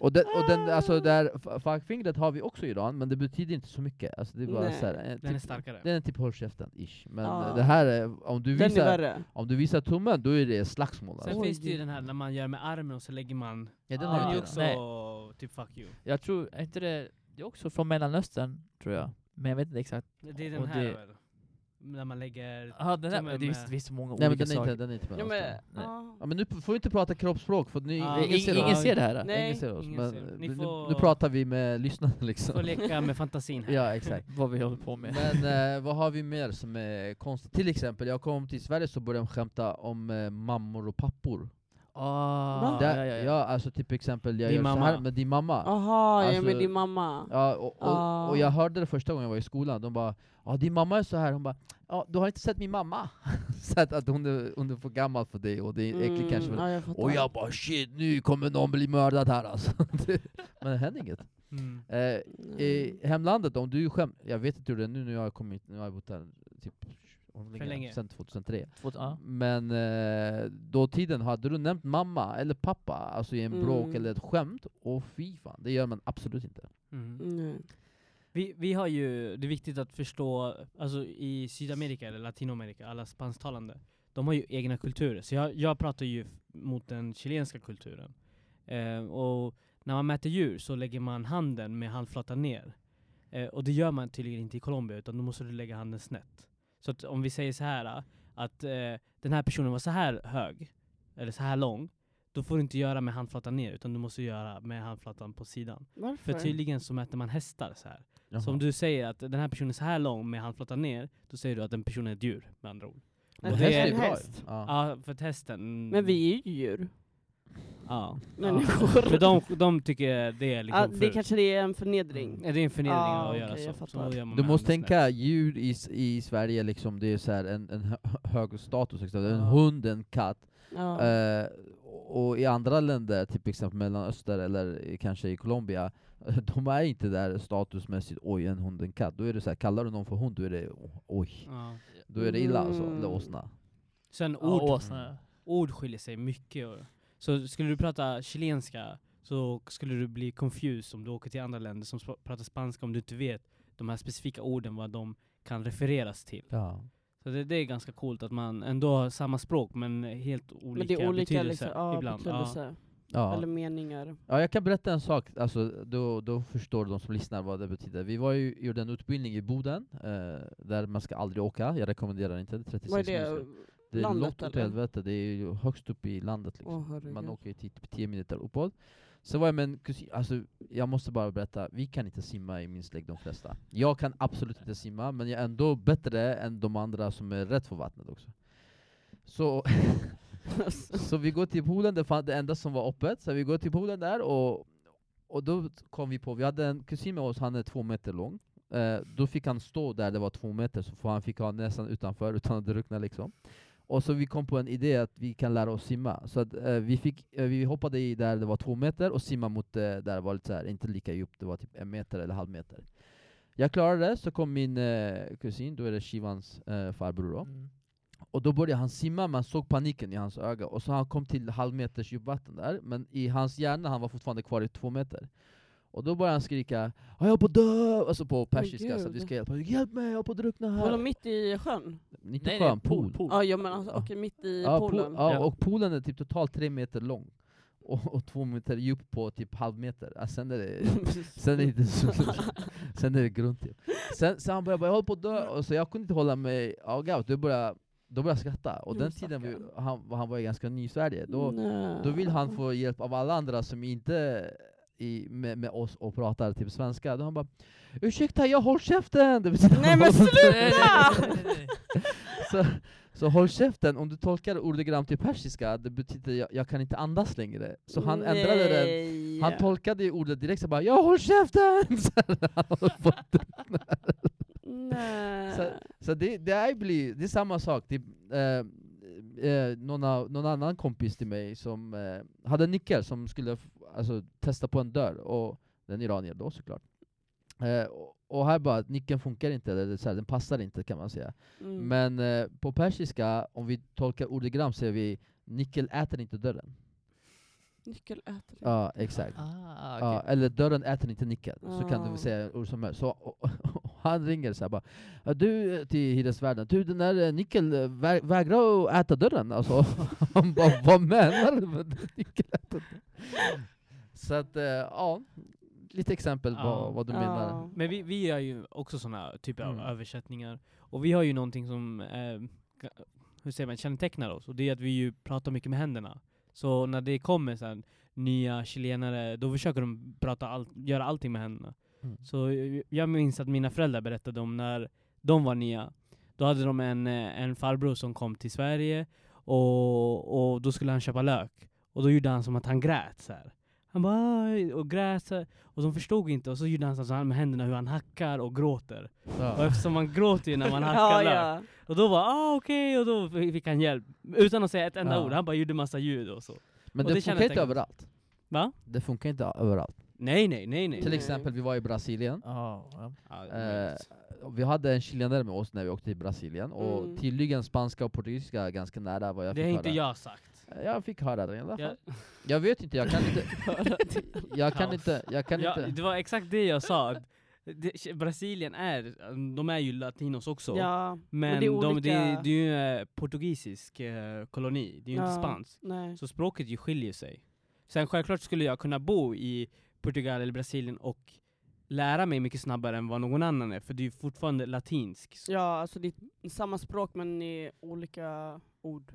Speaker 2: Och, den, och den, alltså
Speaker 1: Ah.
Speaker 2: där, f- fuckfingret har vi också i Iran, men det betyder inte så mycket. Alltså, det är bara
Speaker 1: Nej.
Speaker 2: så här, eh,
Speaker 3: den är
Speaker 2: typ,
Speaker 3: starkare.
Speaker 2: den är typ håll käften, ish. Men
Speaker 1: Ja.
Speaker 2: eh, det här är, om du,
Speaker 1: Den är
Speaker 2: visar,
Speaker 1: värre.
Speaker 2: om du visar tummen, då är det slagsmål
Speaker 3: Sen
Speaker 2: alltså.
Speaker 1: Oj.
Speaker 3: finns det ju den här när man gör med armen och så lägger man...
Speaker 2: Ja, den
Speaker 4: den
Speaker 3: det
Speaker 2: har
Speaker 3: är
Speaker 2: vi
Speaker 3: ju
Speaker 4: ja.
Speaker 2: också.
Speaker 3: också typ fuck you.
Speaker 4: jag tror, är inte det, det är också från mellanöstern tror jag. Men jag vet inte exakt.
Speaker 3: Det är den
Speaker 4: Och
Speaker 3: här
Speaker 4: det-
Speaker 3: väl? När man lägger...
Speaker 4: Ah, den där,
Speaker 3: Tummen
Speaker 4: det är
Speaker 3: med-
Speaker 4: visst, visst så många
Speaker 2: Nej men
Speaker 4: olika
Speaker 2: den är
Speaker 4: saker.
Speaker 2: inte, den är inte
Speaker 1: Ja,
Speaker 2: mellan
Speaker 1: men,
Speaker 2: Nej.
Speaker 1: ja.
Speaker 2: Ja, men nu p- får vi inte prata kroppsspråk för ni,
Speaker 3: Ah.
Speaker 2: ingen ser
Speaker 4: Ingen, ingen
Speaker 2: oss.
Speaker 4: ser det här.
Speaker 1: Nej.
Speaker 2: Ingen ser oss,
Speaker 3: Ingen
Speaker 2: men
Speaker 3: ser det. Ni
Speaker 2: nu,
Speaker 3: får-
Speaker 2: nu pratar vi med lyssnarna liksom.
Speaker 3: Får leka med fantasin här.
Speaker 2: Ja, exakt.
Speaker 4: Vad vi håller på med.
Speaker 2: Men eh, vad har vi mer som är konstigt? Till exempel, jag kom till Sverige så började de skämta om eh, mammor och pappor.
Speaker 4: Ah,
Speaker 2: Där,
Speaker 4: ja, ja, ja.
Speaker 2: ja, alltså typ exempel, jag
Speaker 3: Din
Speaker 2: gör så
Speaker 3: mamma.
Speaker 2: här med din mamma.
Speaker 1: Aha, jag är
Speaker 2: Alltså-
Speaker 1: med din mamma.
Speaker 2: Ja, och, och,
Speaker 1: Ah.
Speaker 2: och jag hörde det första gången jag var i skolan, de bara ja din mamma är så här, hon bara ja du har inte sett min mamma. så att, att hon, är, hon är för gammal för dig och det är äckligt kanske. Men,
Speaker 1: Mm, ja, jag fattar.
Speaker 2: och jag bara shit nu kommer någon bli mördad här alltså. Det- Men det händer inget.
Speaker 3: Mm.
Speaker 2: Eh,
Speaker 1: Nej.
Speaker 2: I hemlandet, om du skämt, jag vet inte hur det är nu när jag har kommit, nu har jag bott här typ hur
Speaker 3: länge.
Speaker 2: sen 2003.
Speaker 4: Två, ah.
Speaker 2: Men eh, då tiden, hade du nämnt mamma eller pappa, alltså i en bråk
Speaker 1: Mm.
Speaker 2: eller ett skämt, och fy fan, det gör man absolut inte.
Speaker 3: Mm.
Speaker 1: Nej.
Speaker 3: Vi, vi har ju, det är viktigt att förstå, alltså i Sydamerika eller Latinamerika, alla spansktalande, de har ju egna kulturer. Så jag, jag pratar ju f- mot den chilenska kulturen. Eh, och när man mäter djur så lägger man handen med handflatan ner. Eh, och det gör man tydligen inte i Colombia, utan då måste du lägga handen snett. Så att om vi säger så här ah, att eh, den här personen var så här hög, eller så här lång, då får du inte göra med handflatan ner, utan du måste göra med handflatan på sidan.
Speaker 1: Varför?
Speaker 3: För tydligen så mäter man hästar så här. Så
Speaker 2: Jaha.
Speaker 3: om du säger att den här personen är så här lång med handflatan ner, då säger du att den personen är ett djur med andra ord.
Speaker 1: En
Speaker 2: Och
Speaker 3: det är
Speaker 2: häst
Speaker 3: en
Speaker 2: ju bra ju.
Speaker 1: häst.
Speaker 2: Ja.
Speaker 3: Ja, för att hästen...
Speaker 1: Men vi är ju djur.
Speaker 3: Ja.
Speaker 1: Människor.
Speaker 3: För de, de tycker det är liksom
Speaker 1: Ja, det
Speaker 3: fult.
Speaker 1: kanske det är en förnedring.
Speaker 3: Mm. Ja, Det är en förnedring
Speaker 1: Ah,
Speaker 3: att göra
Speaker 1: okej, jag
Speaker 3: så. så
Speaker 1: fattar.
Speaker 3: gör man
Speaker 2: Du
Speaker 3: med
Speaker 2: måste
Speaker 3: handen
Speaker 2: tänka djur i, s- i Sverige, liksom, det är så här en, en hö- hög status, liksom. en
Speaker 3: Ja.
Speaker 2: hund, en katt.
Speaker 1: Ja.
Speaker 2: Eh, och i andra länder, typ exempel Mellanöstern eller i- kanske i Colombia, de är inte där statusmässigt oj en hund en katt. Då är det så här, kallar du någon för hund då är det o- oj,
Speaker 3: snett. Ja.
Speaker 2: då är det illa alltså,
Speaker 1: Mm.
Speaker 2: eller åsna.
Speaker 3: Sen
Speaker 4: Ah,
Speaker 3: ord,
Speaker 2: Mm.
Speaker 4: åsna.
Speaker 3: ord skiljer sig mycket. och- Så skulle du prata chilenska så skulle du bli confused om du åker till andra länder som sp- pratar spanska om du inte vet de här specifika orden vad de kan refereras till.
Speaker 2: Ja.
Speaker 3: Så det, det är ganska coolt att man ändå har samma språk men helt olika,
Speaker 1: Men det är olika
Speaker 3: betydelser
Speaker 1: liksom, ja,
Speaker 3: ibland.
Speaker 1: betydelser.
Speaker 2: Ja.
Speaker 1: Eller meningar.
Speaker 2: ja, jag kan berätta en sak, alltså, då, då förstår de som lyssnar vad det betyder. Vi var ju, gjorde en utbildning i Boden, eh, där man ska aldrig åka, jag rekommenderar inte, det är 36
Speaker 1: Vad är det?
Speaker 2: minuter. Det är
Speaker 1: Landet,
Speaker 2: långt åt
Speaker 1: eller?
Speaker 2: helvete, det är ju högst upp i landet liksom.
Speaker 1: Åh
Speaker 2: Man
Speaker 1: herregud.
Speaker 2: åker ju typ 10 minuter uppåt. Så var jag med en kusin, alltså jag måste bara berätta, vi kan inte simma i min släkt de flesta. Jag kan absolut inte simma, men jag är ändå bättre än de andra som är rätt för vattnet också. Så,
Speaker 1: Alltså,
Speaker 2: så vi går till poolen, det, fann, det enda som var öppet, så vi går till poolen där och Och då kom vi på, vi hade en kusin med oss, han är två meter lång. Eh, då fick han stå där det var två meter, så får han fick ha näsan utanför utan att drunkna liksom. Och så vi kom på en idé att vi kan lära oss simma. Så att, eh, vi, fick, eh, vi hoppade i där det var två meter och simma mot eh, där det var lite så här, inte lika djupt, det var typ en meter eller halv meter. Jag klarade det, så kom min eh, kusin, då är det Shivans eh, farbror då.
Speaker 4: Mm.
Speaker 2: Och då började han simma, man såg paniken i hans öga, och så han kom till halvmeters djupvatten där, men i hans hjärna han var fortfarande kvar i två meter. Och då började han skrika 'Jag är på att dö!' Alltså på persiska, så att vi
Speaker 1: gud.
Speaker 2: ska hjälpa honom. 'Hjälp mig, jag är på att drunkna
Speaker 1: Vadå,
Speaker 2: här!'
Speaker 1: mitt i sjön?
Speaker 2: Inte sjön, pool.
Speaker 1: Ja, ja men alltså,
Speaker 2: Ja.
Speaker 1: okej, mitt i
Speaker 2: Ja, pool-
Speaker 1: poolen.
Speaker 2: ja,
Speaker 3: Ja.
Speaker 2: och poolen är typ totalt tre meter lång, och, och två meter djup på typ halvmeter. Ah, sen är det Sen är det inte så, sen är det grunt typ. sen, sen han började bara 'jag håller på att dö' och så jag kunde inte hålla mig out, då började, då började jag skratta. Och
Speaker 1: Jo, Mm.
Speaker 2: den tiden vi,
Speaker 1: stackarn.
Speaker 2: han, han var ju ganska ny i Sverige, då,
Speaker 1: Nej.
Speaker 2: då vill han få hjälp av alla andra som inte i, med, med oss och pratar typ svenska. Då han bara 'ursäkta, jag håller käften' det betyder,
Speaker 1: Nej, men
Speaker 4: Nej, nej, nej, nej, nej, nej.
Speaker 2: så, så håll käften, om du tolkar ordagrant till persiska, det betyder jag, 'jag kan inte andas längre' Så han ändrade den
Speaker 1: Nej.
Speaker 2: han tolkade ju ordet direkt så bara 'Jag håll käften!' Så här, han håller på.
Speaker 1: Nej.
Speaker 2: så det, det, är blir, det är samma sak, det, eh, eh, någon, av, någon annan kompis till mig som eh, hade en nyckel som skulle f- alltså, testa på en dörr, och den är iranier då såklart. Eh, och, och här bara, nyckeln funkar inte, eller så här, den passar inte kan man säga.
Speaker 1: Mm.
Speaker 2: Men eh, på persiska, om vi tolkar ordagrant säger vi 'nyckel äter inte dörren'
Speaker 1: Nyckelätare.
Speaker 2: Ja, exakt.
Speaker 4: Ah,
Speaker 2: Ja,
Speaker 4: okej.
Speaker 2: eller dörren äter inte nicken, så kan du
Speaker 1: Ah.
Speaker 2: väl säga ord som helst. Så, och, och, han ringer så här bara "Ja, Du eh, till hyresvärden, du den där eh, nickel eh, vä vägrar att äta dörren alltså. Han bara vad menar du med att nickel äter dörren?" Så att eh, ja, lite exempel på
Speaker 3: Ja.
Speaker 2: vad du menar.
Speaker 3: Men vi, vi är ju också såna typer av
Speaker 2: Mm.
Speaker 3: översättningar. Och vi har ju någonting som eh, ga- hur säger man, kännetecknar oss. Och det är att vi ju pratar mycket med händerna. Så när det kommer så här, nya chilenare, då försöker de prata all, göra allting med händerna.
Speaker 2: Mm.
Speaker 3: Så eh, jag minns att mina föräldrar berättade om när de var nya. Då hade de en, eh, en farbror som kom till Sverige och, och då skulle han köpa lök. Och då gjorde han som att han grät så här. Han bara "Aj", och grät så här. Och de förstod inte och så gjorde han så här med händerna hur han hackar och gråter. Och
Speaker 2: Ja.
Speaker 3: eftersom man gråter ju när man hackar
Speaker 1: Ja,
Speaker 3: lök.
Speaker 1: ja.
Speaker 3: Och då var ah okej och då fick han hjälp. Utan att säga ett enda
Speaker 2: Ja.
Speaker 3: ord, han bara gjorde massa ljud och så.
Speaker 2: Men
Speaker 3: och
Speaker 2: det,
Speaker 3: det
Speaker 2: funkar inte
Speaker 3: kännetecknas.
Speaker 2: överallt.
Speaker 3: Va? Mm.
Speaker 2: Det funkar inte överallt.
Speaker 3: Nej nej nej nej.
Speaker 2: Till
Speaker 1: Nej.
Speaker 2: exempel, vi var i Brasilien.
Speaker 4: Ja, Ah, ja.
Speaker 3: Ja, det är
Speaker 2: Eh,
Speaker 3: möjligt.
Speaker 2: vi hade en chilenare med oss när vi åkte till Brasilien, och
Speaker 1: Mm. tydligen
Speaker 2: tydligen spanska och portugisiska ganska nära vad jag
Speaker 3: det
Speaker 2: fick
Speaker 3: har inte
Speaker 2: höra.
Speaker 3: jag sagt.
Speaker 2: Jag. fick höra det i alla fall.
Speaker 3: Jag,
Speaker 2: Jag vet inte, jag kan inte... jag kan
Speaker 3: Kaos.
Speaker 2: inte, jag kan
Speaker 3: jag,
Speaker 2: inte...
Speaker 3: det var exakt det jag sa. att Det, Brasilien är, mm, de är ju latinos också.
Speaker 1: ja.
Speaker 3: Men,
Speaker 1: Men det är
Speaker 3: de, det, är-
Speaker 1: olika-
Speaker 3: det är ju eh, portugisisk eh, koloni, det är ju
Speaker 1: Ja.
Speaker 3: inte spanskt.
Speaker 1: Nej.
Speaker 3: Så språket ju skiljer sig. Sen självklart skulle jag kunna bo i Portugal eller Brasilien och lära mig mycket snabbare än vad någon annan är, för det är ju fortfarande latinsk.
Speaker 1: Ja, alltså det är samma språk men i olika ord.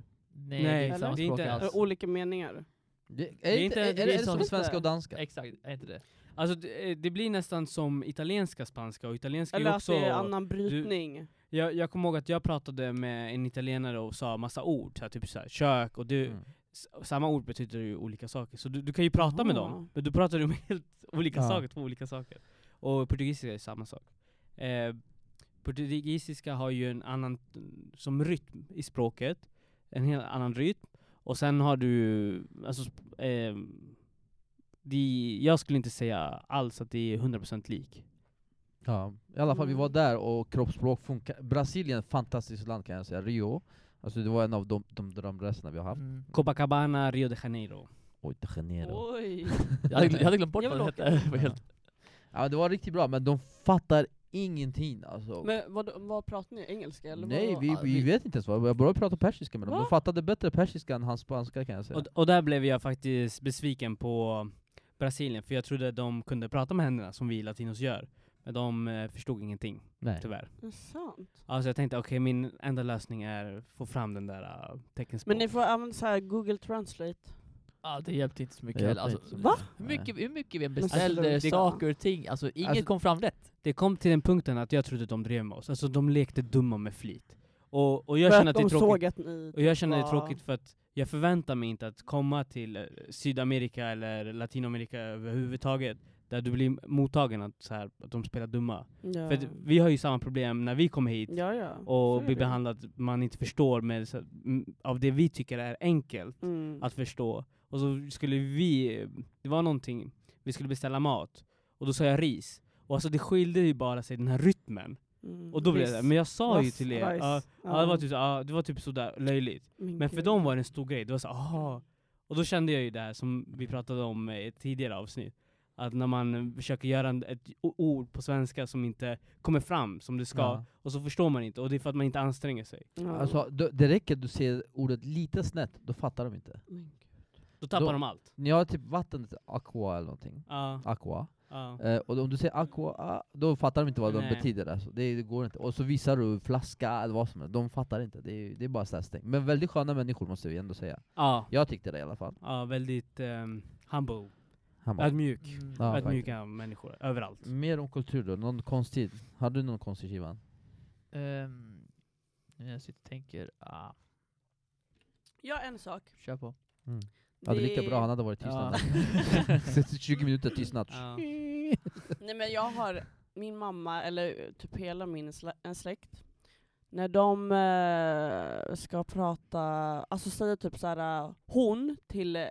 Speaker 3: Nej,
Speaker 4: Nej, det är
Speaker 1: eller?
Speaker 4: samma
Speaker 3: Det är
Speaker 4: språk
Speaker 3: inte-
Speaker 4: alls.
Speaker 1: Eller olika meningar.
Speaker 2: Det, är,
Speaker 3: är
Speaker 2: inte,
Speaker 3: inte-
Speaker 2: är,
Speaker 3: det
Speaker 2: är
Speaker 3: är
Speaker 2: det
Speaker 4: som
Speaker 2: som
Speaker 4: inte-
Speaker 2: svenska och danska?
Speaker 4: Exakt, är inte det?
Speaker 3: Alltså det, eh, det blir nästan som italienska spanska, och italienska är
Speaker 1: Eller
Speaker 3: ju
Speaker 1: att
Speaker 3: också...
Speaker 1: det är annan brytning.
Speaker 3: jag, jag kommer ihåg att jag pratade med en italienare och sa massa ord, så här, typ så här, kök, och du,
Speaker 2: Mm.
Speaker 3: s- samma ord betyder ju olika saker. Så du, du kan ju prata med
Speaker 1: Jaha.
Speaker 3: dem, men du pratar ju med helt olika
Speaker 2: Ja.
Speaker 3: saker, två olika saker. Och portugisiska är samma sak. Eh, portugisiska har ju en annan, som rytm i språket, en helt annan rytm. Och sen har du, alltså, sp- eh, de, jag skulle inte säga alls att det är 100% lik.
Speaker 2: Ja. I alla fall, vi var
Speaker 1: Mm.
Speaker 2: där och kroppsspråk funkar. Brasilien är ett fantastiskt land kan jag säga. Rio, alltså det var en av de, de drömresorna vi har haft.
Speaker 4: Mm.
Speaker 3: Copacabana, Rio de Janeiro.
Speaker 2: Oj, de Janeiro.
Speaker 1: Oj.
Speaker 4: Jag, hade, jag hade glömt bort
Speaker 1: Jag
Speaker 4: vad
Speaker 1: vill åka.
Speaker 4: det hette. Det var helt-
Speaker 2: Ja, det var riktigt bra, men de fattar ingenting alltså.
Speaker 1: Men vad, vad pratar ni? Engelska? Eller
Speaker 2: Nej,
Speaker 1: vad?
Speaker 2: vi, vi vet inte ens vad. Jag började prata persiska med dem.
Speaker 1: Va?
Speaker 2: De fattade bättre persiska än hans spanska kan jag säga.
Speaker 3: Och, och där blev jag faktiskt besviken på Brasilien, för jag trodde att de kunde prata med händerna som vi latinos gör. Men de eh, förstod ingenting,
Speaker 2: Nej.
Speaker 3: tyvärr.
Speaker 1: Är det sant?
Speaker 3: Alltså jag tänkte okej, min enda lösning är att få fram den där uh,
Speaker 1: Men
Speaker 3: teckenspråket.
Speaker 1: ni får använda så här Google Translate.
Speaker 4: Ja, det hjälpte inte så mycket
Speaker 2: Det
Speaker 4: heller.
Speaker 2: hjälpte
Speaker 4: Alltså,
Speaker 2: inte så
Speaker 1: Va?
Speaker 4: Hur
Speaker 2: Nej.
Speaker 4: mycket, hur mycket vi än
Speaker 1: Men alltså,
Speaker 4: beställde
Speaker 1: det-
Speaker 4: saker och ting, alltså inget
Speaker 3: Alltså-
Speaker 4: kom fram rätt.
Speaker 3: Det kom till den punkten att jag trodde att de drev med oss. Alltså de lekte dumma med flit. Och, och jag
Speaker 1: För
Speaker 3: känner att det är
Speaker 1: de
Speaker 3: tråkigt.
Speaker 1: såg att ni...
Speaker 3: Och jag känner det är
Speaker 1: var-
Speaker 3: tråkigt för att jag förväntar mig inte att komma till eh, Sydamerika eller Latinamerika överhuvudtaget, där du blir mottagen att, så här, att de spelar dumma.
Speaker 1: Ja.
Speaker 3: För att vi har ju samma problem när vi kommer hit
Speaker 1: ja, ja. Så är
Speaker 3: och blir
Speaker 1: det.
Speaker 3: behandlade att man inte förstår med, så, m- av det vi tycker är enkelt
Speaker 1: Mm.
Speaker 3: att förstå. Och så skulle vi, det var någonting, vi skulle beställa mat och då sa jag ris. Och alltså det skilde ju bara sig den här rytmen.
Speaker 1: Mm.
Speaker 3: Och då blev det,
Speaker 1: Ris.
Speaker 3: men jag sa ju
Speaker 1: Ris.
Speaker 3: till er,
Speaker 1: Rice.
Speaker 3: ja, ja, det var typ, så- ja, det var typ sådär löjligt.
Speaker 1: Min
Speaker 3: Men för
Speaker 1: gud.
Speaker 3: dem var det en stor grej, det var så aha. Och då kände jag ju det här som vi pratade om eh, i ett tidigare avsnitt. Att när man eh, försöker göra en, ett o- ord på svenska som inte kommer fram som det ska,
Speaker 2: Ja.
Speaker 3: och så förstår man inte, och det är för att man inte anstränger sig.
Speaker 1: Ja.
Speaker 2: Alltså, d- det räcker att du ser ordet lite snett, då fattar de inte.
Speaker 1: Min gud.
Speaker 3: Då tappar
Speaker 2: Då-
Speaker 3: de allt.
Speaker 2: Ni har typ vattnet, aqua eller någonting.
Speaker 3: Ja,
Speaker 2: Aqua.
Speaker 3: ja.
Speaker 2: Eh, och om du säger aqua, ah, då fattar de inte vad de
Speaker 3: Nej.
Speaker 2: betyder. Alltså. Det, det går inte. Och så visar du flaska eller vad som helst, de fattar inte. Det är, det är bara sådär stängt. Men väldigt sköna människor måste vi ändå säga.
Speaker 3: ja.
Speaker 2: Jag tyckte det i alla fall.
Speaker 3: ja väldigt ehm, humble.
Speaker 2: Han bara,
Speaker 3: Ödmjuk.
Speaker 4: Mm.
Speaker 2: Ja,
Speaker 3: Ödmjuka människor, överallt.
Speaker 2: Mer om kultur då, någon konstig. Hade du någon konstig skivan?
Speaker 4: Ehm, nu när jag sitter och tänker, ah,
Speaker 1: Ja, en sak.
Speaker 4: kör på.
Speaker 2: Hade
Speaker 1: Det-
Speaker 2: lika bra, han hade varit tystnad.
Speaker 3: Ja.
Speaker 2: 20 minuter tystnad.
Speaker 3: Ja.
Speaker 1: Nej men jag har, min mamma, eller typ hela min slä, en släkt, när de eh, ska prata, alltså säger typ såhär eh, hon till eh,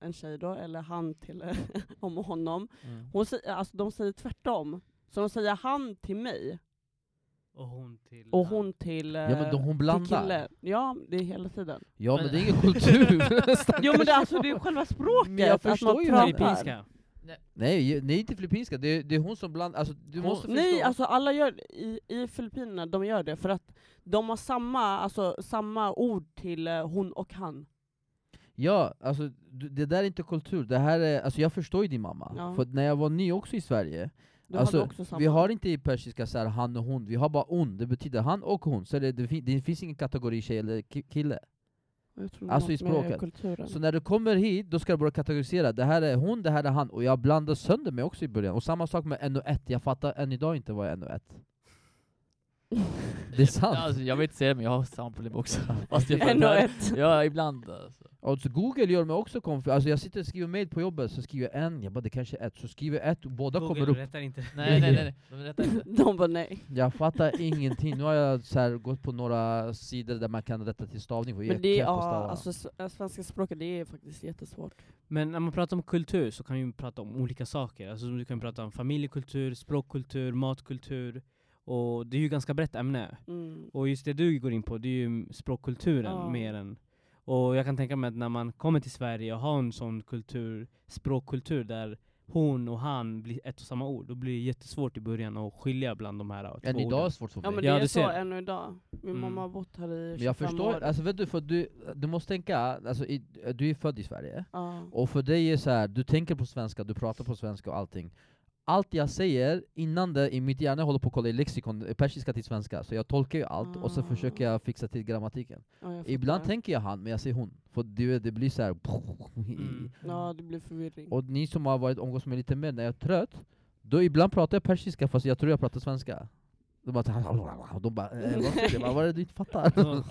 Speaker 1: en tjej då, eller han till eh, om och honom.
Speaker 2: Mm.
Speaker 1: Hon, säger- alltså de säger tvärtom. Så de säger han till mig,
Speaker 3: Och hon till...
Speaker 1: och hon till, eh,
Speaker 2: Ja men då hon
Speaker 1: till
Speaker 2: blandar.
Speaker 1: killen. Ja, det är hela tiden.
Speaker 2: Ja men
Speaker 4: Men-
Speaker 2: det är ingen kultur.
Speaker 1: Jo men det, är alltså, det är själva språket,
Speaker 2: Men jag
Speaker 1: att
Speaker 2: förstår
Speaker 1: man
Speaker 2: ju
Speaker 1: pratar.
Speaker 3: Filippinska.
Speaker 2: nej, nej inte filippinska, det är, det är hon som blandar. Alltså, du
Speaker 4: Hon-
Speaker 2: måste
Speaker 1: Nej,
Speaker 2: förstå.
Speaker 1: alltså alla gör i, i Filippinerna, de gör det för att de har samma, alltså, samma ord till eh, hon och han.
Speaker 2: Ja, alltså du- det där är inte kultur. Det här är, alltså jag förstår ju din mamma.
Speaker 1: Ja.
Speaker 2: För att när jag var ny också i Sverige,
Speaker 1: De
Speaker 2: alltså,
Speaker 1: hade också samma.
Speaker 2: vi har inte i persiska så här han och hon, vi har bara on, det betyder han och hon. Så det, det, fin- det finns ingen kategori tjej eller ki- kille.
Speaker 1: Jag tror
Speaker 2: alltså
Speaker 1: något
Speaker 2: i språket.
Speaker 1: Med kulturen.
Speaker 2: Så när du kommer hit, då ska du börja kategorisera. Det här är hon, det här är han. Och jag blandade sönder mig också i början. Och samma sak med NO1, jag fattar än idag inte vad NO1 Det är sant.
Speaker 4: Alltså, jag vet inte säga det, men jag har samma problem också. Fast jag
Speaker 1: en och
Speaker 4: fattar.
Speaker 1: ett.
Speaker 4: Ja, ibland alltså.
Speaker 2: Och så Google gör mig också konfus. Alltså jag sitter och skriver mail på jobbet, så skriver jag en, jag bara det kanske är ett, så skriver jag ett och båda kommer upp.
Speaker 3: rättar inte.
Speaker 4: Nej, nej, nej, nej. De rättar inte.
Speaker 1: De bara nej.
Speaker 2: Jag fattar ingenting. Nu har jag så här gått på några sidor där man kan rätta till stavning. Och
Speaker 1: Men det är,
Speaker 2: jättekast att
Speaker 1: ja,
Speaker 2: stava.
Speaker 1: alltså, s- eh, svenska språket det är faktiskt jättesvårt.
Speaker 3: Men när man pratar om kultur så kan vi prata om olika saker. Alltså du kan prata om familjekultur, språkkultur, matkultur. Och det är ju ganska brett ämne.
Speaker 1: Mm.
Speaker 3: Och just det du går in på, det är ju språkkulturen
Speaker 1: Ja.
Speaker 3: mer än... Och jag kan tänka mig att när man kommer till Sverige och har en sån kultur, språkkultur där hon och han blir ett och samma ord, då blir det jättesvårt i början att skilja bland de här eh, två
Speaker 2: Än idag är
Speaker 3: orden.
Speaker 2: det svårt för mig.
Speaker 1: Ja men
Speaker 2: men
Speaker 1: det
Speaker 3: Ja,
Speaker 1: är
Speaker 3: du
Speaker 1: så
Speaker 3: ser.
Speaker 1: ännu idag. Min
Speaker 3: Mm.
Speaker 1: mamma har bott här i 25
Speaker 2: jag förstår,
Speaker 1: år.
Speaker 2: alltså vet du, för du, du måste tänka, alltså, i, du är född i Sverige,
Speaker 1: Ja.
Speaker 2: och för dig är så här, du tänker på svenska, du pratar på svenska och allting. Allt jag säger innan det i mitt hjärna håller på att kolla i lexikon, eh, persiska till svenska, så jag tolkar ju allt och så
Speaker 1: Ah.
Speaker 2: försöker jag fixa till grammatiken.
Speaker 1: Ja, jag
Speaker 2: Ibland
Speaker 1: fattar.
Speaker 2: tänker jag han, men jag säger hon. För det, det blir så här.
Speaker 3: Mm.
Speaker 1: Ja det blir förvirring.
Speaker 2: Och ni som har varit omgås med lite mer när jag är trött, då ibland pratar jag persiska fast jag tror jag pratar svenska. De bara, så här, och de bara eh, vad säger du? Jag bara, Vad är det du inte fattar?
Speaker 3: Så-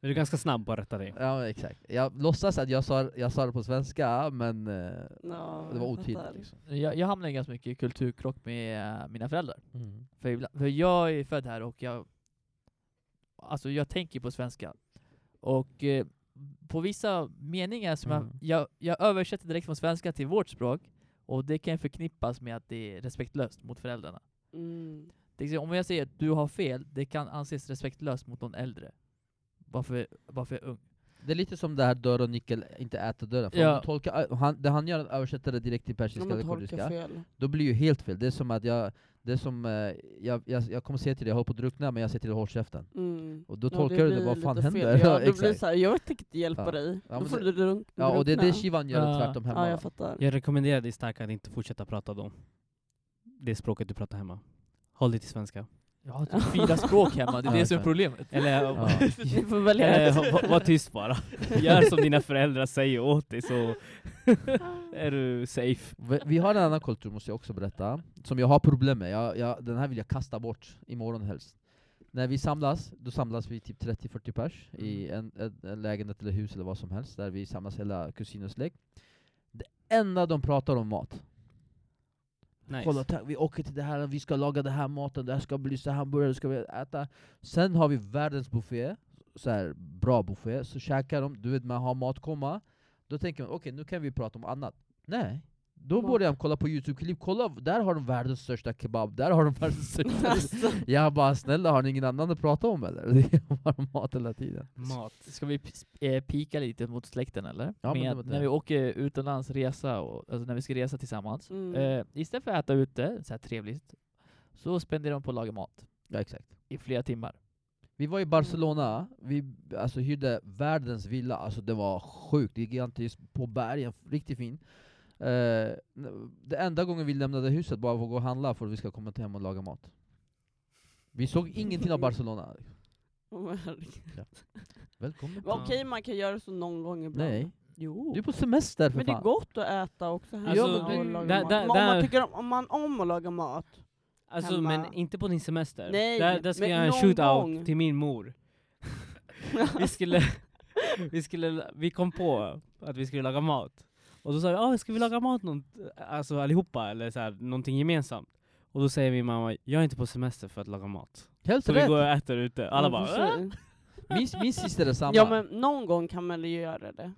Speaker 3: Men du är ganska snabb på att rätta dig.
Speaker 2: Ja men exakt. Jag låtsas att jag sa, jag sa det på svenska, men eh,
Speaker 1: ja,
Speaker 2: det var
Speaker 1: jag fattar.
Speaker 2: otydligt. Liksom.
Speaker 4: Jag, jag hamnade i ganska mycket i kulturkrock med eh, mina föräldrar. För, ibland, för jag är född här och jag, alltså jag tänker på svenska. Och eh, på vissa meningar som
Speaker 2: Mm.
Speaker 4: jag, jag, jag översätter direkt från svenska till vårt språk och det kan förknippas med att det är respektlöst mot föräldrarna.
Speaker 1: Mm.
Speaker 4: Till exempel, om jag säger att du har fel, det kan anses respektlöst mot någon äldre. Varför, varför jag är ung?
Speaker 2: Det är lite som det här dörr och nickel, inte äta dörren. För om
Speaker 4: Ja.
Speaker 2: du tolkar, eh, han, det han gör är att översätta det direkt till persiska
Speaker 1: Om man
Speaker 2: eller
Speaker 1: tolkar
Speaker 2: kurdiska,
Speaker 1: fel.
Speaker 2: då blir det ju helt fel. Det är som att jag, det är som, eh, jag, jag, jag kommer säga till dig, jag håller på att drunkna, men jag säger till dig håll käften.
Speaker 1: Mm.
Speaker 2: Och då
Speaker 1: Ja,
Speaker 2: tolkar du det,
Speaker 1: blir
Speaker 2: vad fan
Speaker 1: lite fel.
Speaker 2: händer?
Speaker 1: Ja, det blir
Speaker 2: exakt.
Speaker 1: såhär, jag tänker inte hjälpa
Speaker 2: Ja.
Speaker 1: dig.
Speaker 2: Ja,
Speaker 1: då
Speaker 2: men
Speaker 1: får
Speaker 2: det-
Speaker 1: du drunk-
Speaker 2: Ja, och det är
Speaker 1: drunkna.
Speaker 2: det Shivan gör
Speaker 4: Ja.
Speaker 2: tvärtom hemma.
Speaker 1: Ja,
Speaker 2: va?
Speaker 1: jag fattar.
Speaker 3: Jag rekommenderar dig starkt att inte fortsätta prata då. Det språket du pratar hemma. Håll dig till svenska.
Speaker 4: Jag har typ fyra språk hemma, det är
Speaker 2: Ja,
Speaker 4: det som är
Speaker 2: okej.
Speaker 4: problemet.
Speaker 3: Eller,
Speaker 2: Ja.
Speaker 1: Ni får välja
Speaker 3: eller
Speaker 1: ett.
Speaker 3: va- va- Eh, var tyst bara. Gör som dina föräldrar säger åt dig så är du safe.
Speaker 2: Vi- Vi har en annan kultur, måste jag också berätta, som jag har problem med. Jag, jag, den här vill jag kasta bort imorgon helst. När vi samlas, då samlas vi typ 30-40 pers i
Speaker 1: Mm.
Speaker 2: en, en, en lägenhet eller hus eller vad som helst, där vi samlas hela kusinens släkt. Det enda de pratar om mat.
Speaker 3: Nice.
Speaker 2: Kolla, tack, vi åker till det här, vi ska laga den här maten, det här ska bli så här hamburgare, ska vi äta. Sen har vi världens buffé, så här bra buffé, så käkar de, du vet man har matkomma, då tänker man okej nu kan vi prata om annat. Nej. Då
Speaker 1: Mat.
Speaker 2: börjar jag kolla på Youtube-klipp, kolla, där har de världens största kebab, där har de världens största...
Speaker 1: Alltså,
Speaker 2: jag bara snälla, har ni ingen annan att prata om eller? Det är bara mat hela tiden.
Speaker 3: Mat.
Speaker 4: Ska vi p- eh, pika lite mot släkten eller?
Speaker 2: Ja, men
Speaker 4: Med
Speaker 2: det
Speaker 4: att
Speaker 2: var det.
Speaker 4: När vi åker utomlands, resa, och, alltså när vi ska resa tillsammans.
Speaker 1: Mm.
Speaker 4: Eh, istället för att äta ute, så här trevligt, så spenderar de på att laga mat
Speaker 2: Ja exakt.
Speaker 4: i flera timmar.
Speaker 2: Vi var i Barcelona, vi alltså, hyrde världens villa, alltså det var sjukt gigantiskt, på bergen, riktigt fin. Eh, n- det enda gången vi lämnade huset bara för att gå och handla för att vi ska komma hem och laga mat. Vi såg ingenting av Barcelona.
Speaker 1: Åh, herregud.
Speaker 2: Välkommen.
Speaker 1: Okej, man kan göra så någon gång ibland.
Speaker 2: Nej,
Speaker 1: Jo.
Speaker 2: du är på semester för
Speaker 1: Men det är
Speaker 2: fan.
Speaker 1: gott att äta också hemma
Speaker 3: Alltså,
Speaker 1: och
Speaker 3: det-
Speaker 1: laga
Speaker 3: där-
Speaker 1: mat.
Speaker 3: där-
Speaker 1: Men om, man
Speaker 3: där-
Speaker 1: tycker om, om man om att laga mat.
Speaker 3: Alltså
Speaker 1: Hemma.
Speaker 3: men inte på din semester.
Speaker 1: Nej,
Speaker 3: där, där ska
Speaker 1: men
Speaker 3: jag göra en
Speaker 1: någon
Speaker 3: shootout
Speaker 1: gång.
Speaker 3: till min mor. vi skulle, vi skulle, vi kom på att vi skulle laga mat. Och då sa vi, ah, ska vi laga mat någon, alltså allihopa eller så här, någonting gemensamt? Och då säger min mamma, jag är inte på semester för att laga mat.
Speaker 2: Helt
Speaker 3: Så vi
Speaker 2: rätt!
Speaker 3: går och äter ute. Alla
Speaker 1: Ja,
Speaker 3: bara, "Ah."
Speaker 1: precis.
Speaker 2: Min, min syster är "Äh?" samma.
Speaker 1: Mm, Ja men någon gång kan man ju göra det.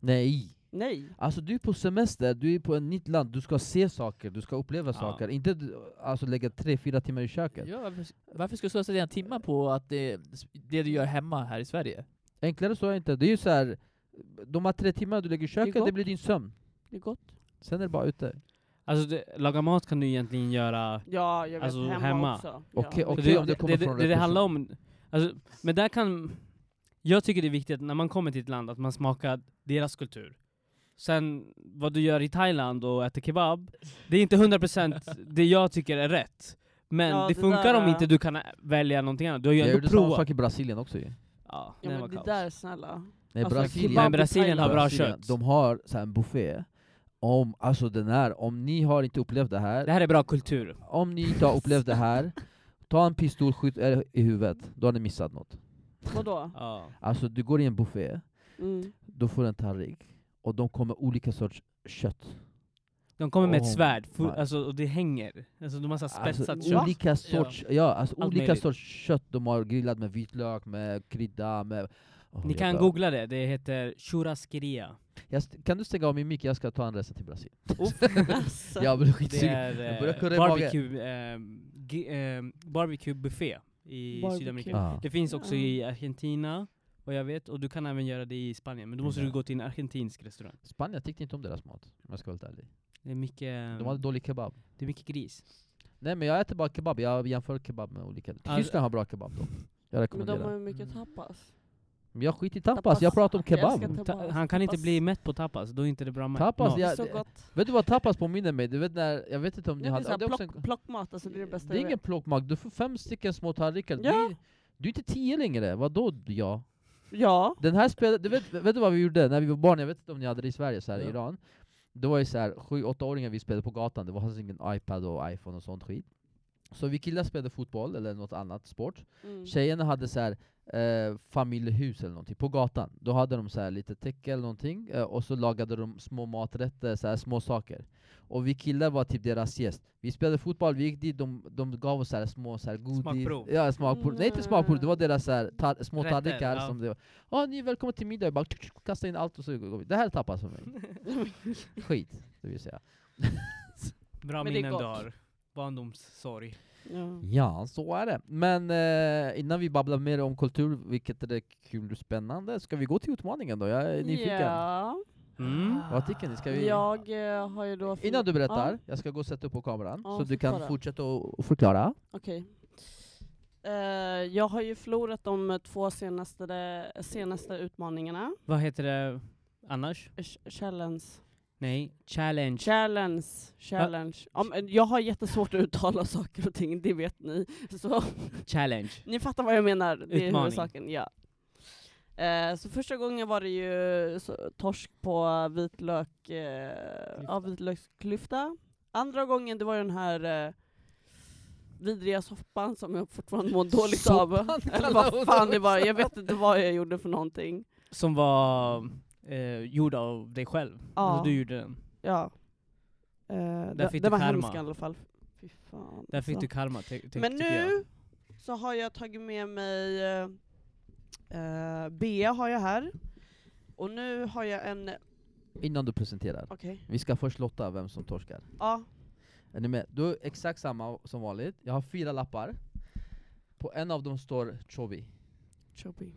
Speaker 2: Nej!
Speaker 1: Nej.
Speaker 2: Alltså du är på semester, du är på ett nytt land, du ska se saker, du ska uppleva
Speaker 3: Ja.
Speaker 2: saker. Inte d- alltså, lägga tre, fyra timmar i köket.
Speaker 4: Ja, varför, varför ska du slösa dina timmar på att det, det du gör hemma här i Sverige?
Speaker 2: Enklare så är det inte. Det är ju så här. de här tre timmarna du lägger i köket, det,
Speaker 1: gott.
Speaker 2: blir din sömn.
Speaker 1: Det är gott.
Speaker 2: Sen är det bara ute.
Speaker 3: Alltså det, laga mat kan du egentligen göra
Speaker 1: Ja, jag vet.
Speaker 3: Alltså,
Speaker 1: hemma,
Speaker 3: hemma.
Speaker 1: också.
Speaker 2: Okej,
Speaker 1: Ja.
Speaker 3: Så
Speaker 2: okej.
Speaker 3: det,
Speaker 2: om det kommer
Speaker 3: det,
Speaker 2: från
Speaker 3: det,
Speaker 2: rätt
Speaker 3: det handlar
Speaker 2: person.
Speaker 3: om, alltså, men där kan, jag tycker det är viktigt när man kommer till ett land att man smakar deras kultur. Sen vad du gör i Thailand och äter kebab, det är inte 100% det jag tycker är rätt. Men
Speaker 1: Ja,
Speaker 3: det
Speaker 1: det
Speaker 3: funkar
Speaker 1: där
Speaker 3: om
Speaker 1: är-
Speaker 3: inte du kan ä- välja någonting annat. Du har ju
Speaker 2: Jag
Speaker 3: ändå
Speaker 2: gjorde samma
Speaker 3: provat.
Speaker 2: sak i Brasilien också ju.
Speaker 3: Ja,
Speaker 1: Ja
Speaker 3: det
Speaker 1: men
Speaker 3: var
Speaker 1: det
Speaker 3: kaos.
Speaker 1: där snälla.
Speaker 2: Nej,
Speaker 1: Alltså,
Speaker 2: Brasilien,
Speaker 3: Nej,
Speaker 1: kebab i
Speaker 3: Brasilien har bra
Speaker 2: Brasilien,
Speaker 3: kött.
Speaker 2: De har så här en buffé. Om, alltså den här, om ni har inte upplevt det här,
Speaker 3: Det här är bra kultur.
Speaker 2: om ni inte har upplevt det här, ta en pistolskytt eh, i huvudet, då har ni missat något.
Speaker 1: Vadå?
Speaker 3: Ja.
Speaker 2: Alltså du går i en buffé,
Speaker 1: Mm.
Speaker 2: då får du en tallrik, och de kommer olika sorts kött.
Speaker 3: De kommer med ett
Speaker 2: Oh
Speaker 3: svärd, fu-
Speaker 2: my.
Speaker 3: alltså, och det hänger. Alltså de har så här spetsat
Speaker 2: alltså,
Speaker 3: kött.
Speaker 2: olika sorts, ja. alltså,
Speaker 3: Allt
Speaker 2: olika
Speaker 3: möjligt.
Speaker 2: sorts kött de har grillat med vitlök, med krydda, med... Åh,
Speaker 3: Ni
Speaker 2: jag
Speaker 3: kan
Speaker 2: dör.
Speaker 3: googla det, det heter churrasqueria.
Speaker 2: Jag st- kan du stänga av min mick? Jag ska ta en resa till Brasilien.
Speaker 1: Alltså.
Speaker 2: Jag blir
Speaker 3: Det
Speaker 2: skitsugen. Jag börjar
Speaker 3: är
Speaker 2: kurra
Speaker 3: eh,
Speaker 2: i magen.
Speaker 3: barbecue, ehm, gi- ehm, barbecue buffé i
Speaker 1: Barbecue.
Speaker 3: Sydamerika.
Speaker 2: Ah.
Speaker 3: Det finns också
Speaker 1: Ah.
Speaker 3: i Argentina, vad jag vet, och du kan även göra det i Spanien. Men då måste
Speaker 2: Ja.
Speaker 3: du gå till en argentinsk restaurang.
Speaker 2: Spanien jag tyckte inte om deras mat, om jag ska vara helt ärlig.
Speaker 3: Det är mycket, ehm,
Speaker 2: De hade dålig kebab.
Speaker 3: det är mycket gris.
Speaker 2: Nej men jag äter bara kebab, jag jämför kebab med olika.
Speaker 3: Ah,
Speaker 2: Tyskland har bra kebab då. Jag
Speaker 1: Men de har
Speaker 2: rekommenderar.
Speaker 1: ju mycket
Speaker 3: Mm.
Speaker 1: tapas.
Speaker 2: Men jag skiter i tapas, jag pratar om
Speaker 1: Jag älskar
Speaker 2: kebab.
Speaker 1: Tapas,
Speaker 3: Ta, han kan inte
Speaker 1: tapas.
Speaker 3: bli mätt på tapas, då är inte det bra ma-
Speaker 2: Tapas,
Speaker 3: mat.
Speaker 2: Ja,
Speaker 1: Alltså, så
Speaker 2: det-
Speaker 1: gott.
Speaker 2: Vet du vad tapas påminner mig? Du vet när, jag vet inte om
Speaker 1: Det
Speaker 2: ni
Speaker 1: är
Speaker 2: hade...
Speaker 1: såhär
Speaker 2: ja, det är också
Speaker 1: plock, plockmat, alltså det är det bästa
Speaker 2: Det är
Speaker 1: jag
Speaker 2: ingen
Speaker 1: vet.
Speaker 2: plockmag, du får fem stycken små tallrikar. Du,
Speaker 1: Ja.
Speaker 2: är- du är inte tio längre, vadå ja?
Speaker 1: Ja.
Speaker 2: Den här spelade, du vet, vet du vad vi gjorde när vi var barn? Jag vet inte om ni hade det i Sverige, så här, i
Speaker 4: Ja.
Speaker 2: Iran. Det var ju så här, 7-8-åringar vi spelade på gatan, det var alltså ingen iPad och iPhone och sånt skit. Så vi killar spelade fotboll eller något annat sport.
Speaker 1: Mm.
Speaker 2: Tjejerna hade så här, eh, familjehus eller någonting på gatan. Då hade de så här lite täcke eller någonting, eh, och så lagade de små maträtter, så här, små saker. Och vi killar var typ deras gäst. Vi spelade fotboll, vi gick dit, de, de gav oss så här små så här godis.
Speaker 3: Smakprov.
Speaker 2: Ja, smakprov. Nej inte smakprov, det var deras så här, tar- små
Speaker 3: Rätter,
Speaker 2: tallrikar
Speaker 3: ja.
Speaker 2: som det var. Ja, ni är välkomna till middag. Jag bara tsk, tsk, kasta in allt och så går vi. Det här tappas för mig. Skit, det vill säga.
Speaker 1: Men
Speaker 3: Bra
Speaker 1: det är
Speaker 3: minnen du
Speaker 1: gott.
Speaker 3: har. Barndomssorg.
Speaker 1: Ja.
Speaker 2: Ja, så är det. Men eh, innan vi babblar mer om kultur, vilket är det kul och spännande, ska vi gå till utmaningen då? Jag är nyfiken.
Speaker 1: Ja.
Speaker 3: Mm.
Speaker 2: Vad tycker ni? Ska vi...
Speaker 1: Jag eh, har ju då...
Speaker 2: Innan du berättar,
Speaker 1: Ja,
Speaker 2: jag ska gå och sätta upp på kameran,
Speaker 1: Ja,
Speaker 2: så du
Speaker 1: sätt
Speaker 2: kan
Speaker 1: på den.
Speaker 2: fortsätta och och förklara.
Speaker 1: Okej. Eh, jag har ju förlorat de två senaste, senaste utmaningarna.
Speaker 3: Vad heter det annars?
Speaker 1: Ch- Challenge.
Speaker 3: Nej, challenge.
Speaker 1: Challenge. Challenge. Ja, men jag har jättesvårt att uttala saker och ting, det vet ni. Så
Speaker 3: challenge.
Speaker 1: ni fattar vad jag menar. Det är
Speaker 3: Utmaning.
Speaker 1: huvudsaken. Ja. Eh, så första gången var det ju så, torsk på vitlök, eh, ja, vitlöksklyfta. Andra gången det var den här eh, vidriga soppan som jag fortfarande mår dåligt
Speaker 2: Soppan
Speaker 1: av. Eller
Speaker 2: kallar hon
Speaker 1: vad fan det
Speaker 2: det
Speaker 1: var, jag vet inte vad jag gjorde för någonting.
Speaker 3: Som var eh, gjord av dig själv.
Speaker 1: Ja.
Speaker 3: Alltså, du gjorde den.
Speaker 1: Ja. Eh, det,
Speaker 3: fick
Speaker 1: det
Speaker 3: du
Speaker 1: var
Speaker 3: karma.
Speaker 1: hemskt i alla fall. Fy fan,
Speaker 3: Där fick
Speaker 1: alltså.
Speaker 3: du karma, ty- ty-
Speaker 1: Men
Speaker 3: tycker jag.
Speaker 1: nu så har jag tagit med mig eh, eh, Bea har jag här. Och nu har jag en...
Speaker 2: Innan du presenterar.
Speaker 1: Okej.
Speaker 2: Vi ska först lotta vem som torskar.
Speaker 1: Ja.
Speaker 2: Är ni med? Du är exakt samma som vanligt. Jag har fyra lappar. På en av dem står Chobi.
Speaker 1: Chobi.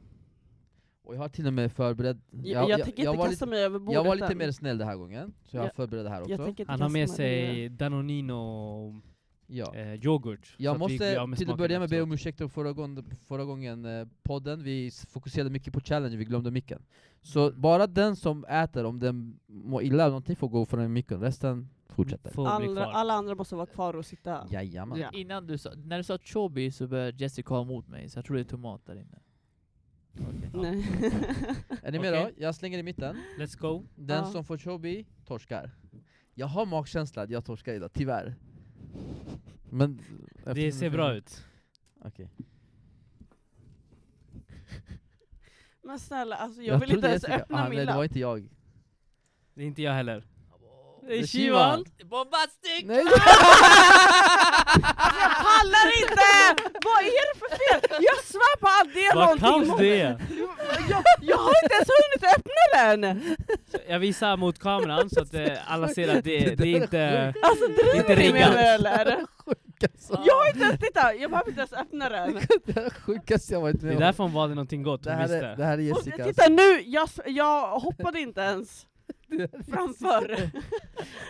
Speaker 2: Och jag har till och med förberett...
Speaker 1: Jag, jag, tänker inte
Speaker 2: var
Speaker 1: kasta
Speaker 2: lite,
Speaker 1: mig över bordet
Speaker 2: jag var lite
Speaker 1: än.
Speaker 2: mer snäll den här gången, så jag har
Speaker 1: Jag-
Speaker 2: förberett det här också.
Speaker 1: jag tänker inte
Speaker 3: Han har
Speaker 1: kasta
Speaker 3: med
Speaker 1: mig över
Speaker 3: sig Danonino
Speaker 2: ja.
Speaker 3: eh, yoghurt. så att
Speaker 2: Jag
Speaker 3: vi blir
Speaker 2: måste
Speaker 3: av med
Speaker 2: till att
Speaker 3: smaken
Speaker 2: börja med be
Speaker 3: efteråt.
Speaker 2: om ursäkt för förra gången, förra gången eh, podden, vi s- fokuserade mycket på challenge, vi glömde micken. Så bara den som äter, om den mår illa eller någonting, får gå från micken, resten fortsätter.
Speaker 3: Får bli
Speaker 1: Andra,
Speaker 3: kvar.
Speaker 1: alla andra måste vara kvar och sitta.
Speaker 2: Jajamän.
Speaker 1: Ja.
Speaker 4: Innan du sa, när du sa chobi så började Jessica ha emot mig, så jag tror det är tomat där inne.
Speaker 1: Nej.
Speaker 2: Är ni med
Speaker 3: Okej.
Speaker 2: då? Jag slänger i mitten.
Speaker 3: Let's go.
Speaker 2: Den
Speaker 1: Ja.
Speaker 2: som får chobi, torskar. Jag har magkänsla att jag torskar idag, tyvärr. Men... eh,
Speaker 3: Det
Speaker 2: eftersom-
Speaker 3: ser bra ut.
Speaker 2: Okej.
Speaker 1: Men snälla, alltså, jag, vill inte
Speaker 2: trodde
Speaker 1: ens
Speaker 2: Jessica-
Speaker 1: öppna
Speaker 2: ah,
Speaker 1: min
Speaker 2: Nej, det
Speaker 1: lapp.
Speaker 2: var inte jag.
Speaker 3: Det är inte jag heller.
Speaker 2: Det är Shivan.
Speaker 4: Bombastic!
Speaker 2: Nej!
Speaker 1: Alltså, jag pallar inte! Vad är det för fel? Jag svär på allt, det är
Speaker 3: Vad
Speaker 1: någonting
Speaker 3: kallt
Speaker 1: mot
Speaker 3: det
Speaker 1: mig.
Speaker 3: är!
Speaker 1: Jag, jag har inte ens hunnit öppna den!
Speaker 3: Jag visar mot kameran så att eh, alla ser att det, det är inte...
Speaker 1: Alltså
Speaker 3: Inte
Speaker 1: driver ni med
Speaker 3: riggat.
Speaker 1: mig eller?
Speaker 2: Sjukaste,
Speaker 1: Jag har inte ens, titta, jag behöver inte ens öppna den.
Speaker 2: det sjukaste jag varit
Speaker 3: Det
Speaker 2: med
Speaker 3: är
Speaker 2: om.
Speaker 3: därför hon valde någonting gott,
Speaker 2: det,
Speaker 3: hon
Speaker 2: här är, det
Speaker 3: visste.
Speaker 2: här är
Speaker 1: Och,
Speaker 2: Jessica.
Speaker 1: titta nu, jag, s- jag hoppade inte ens framför.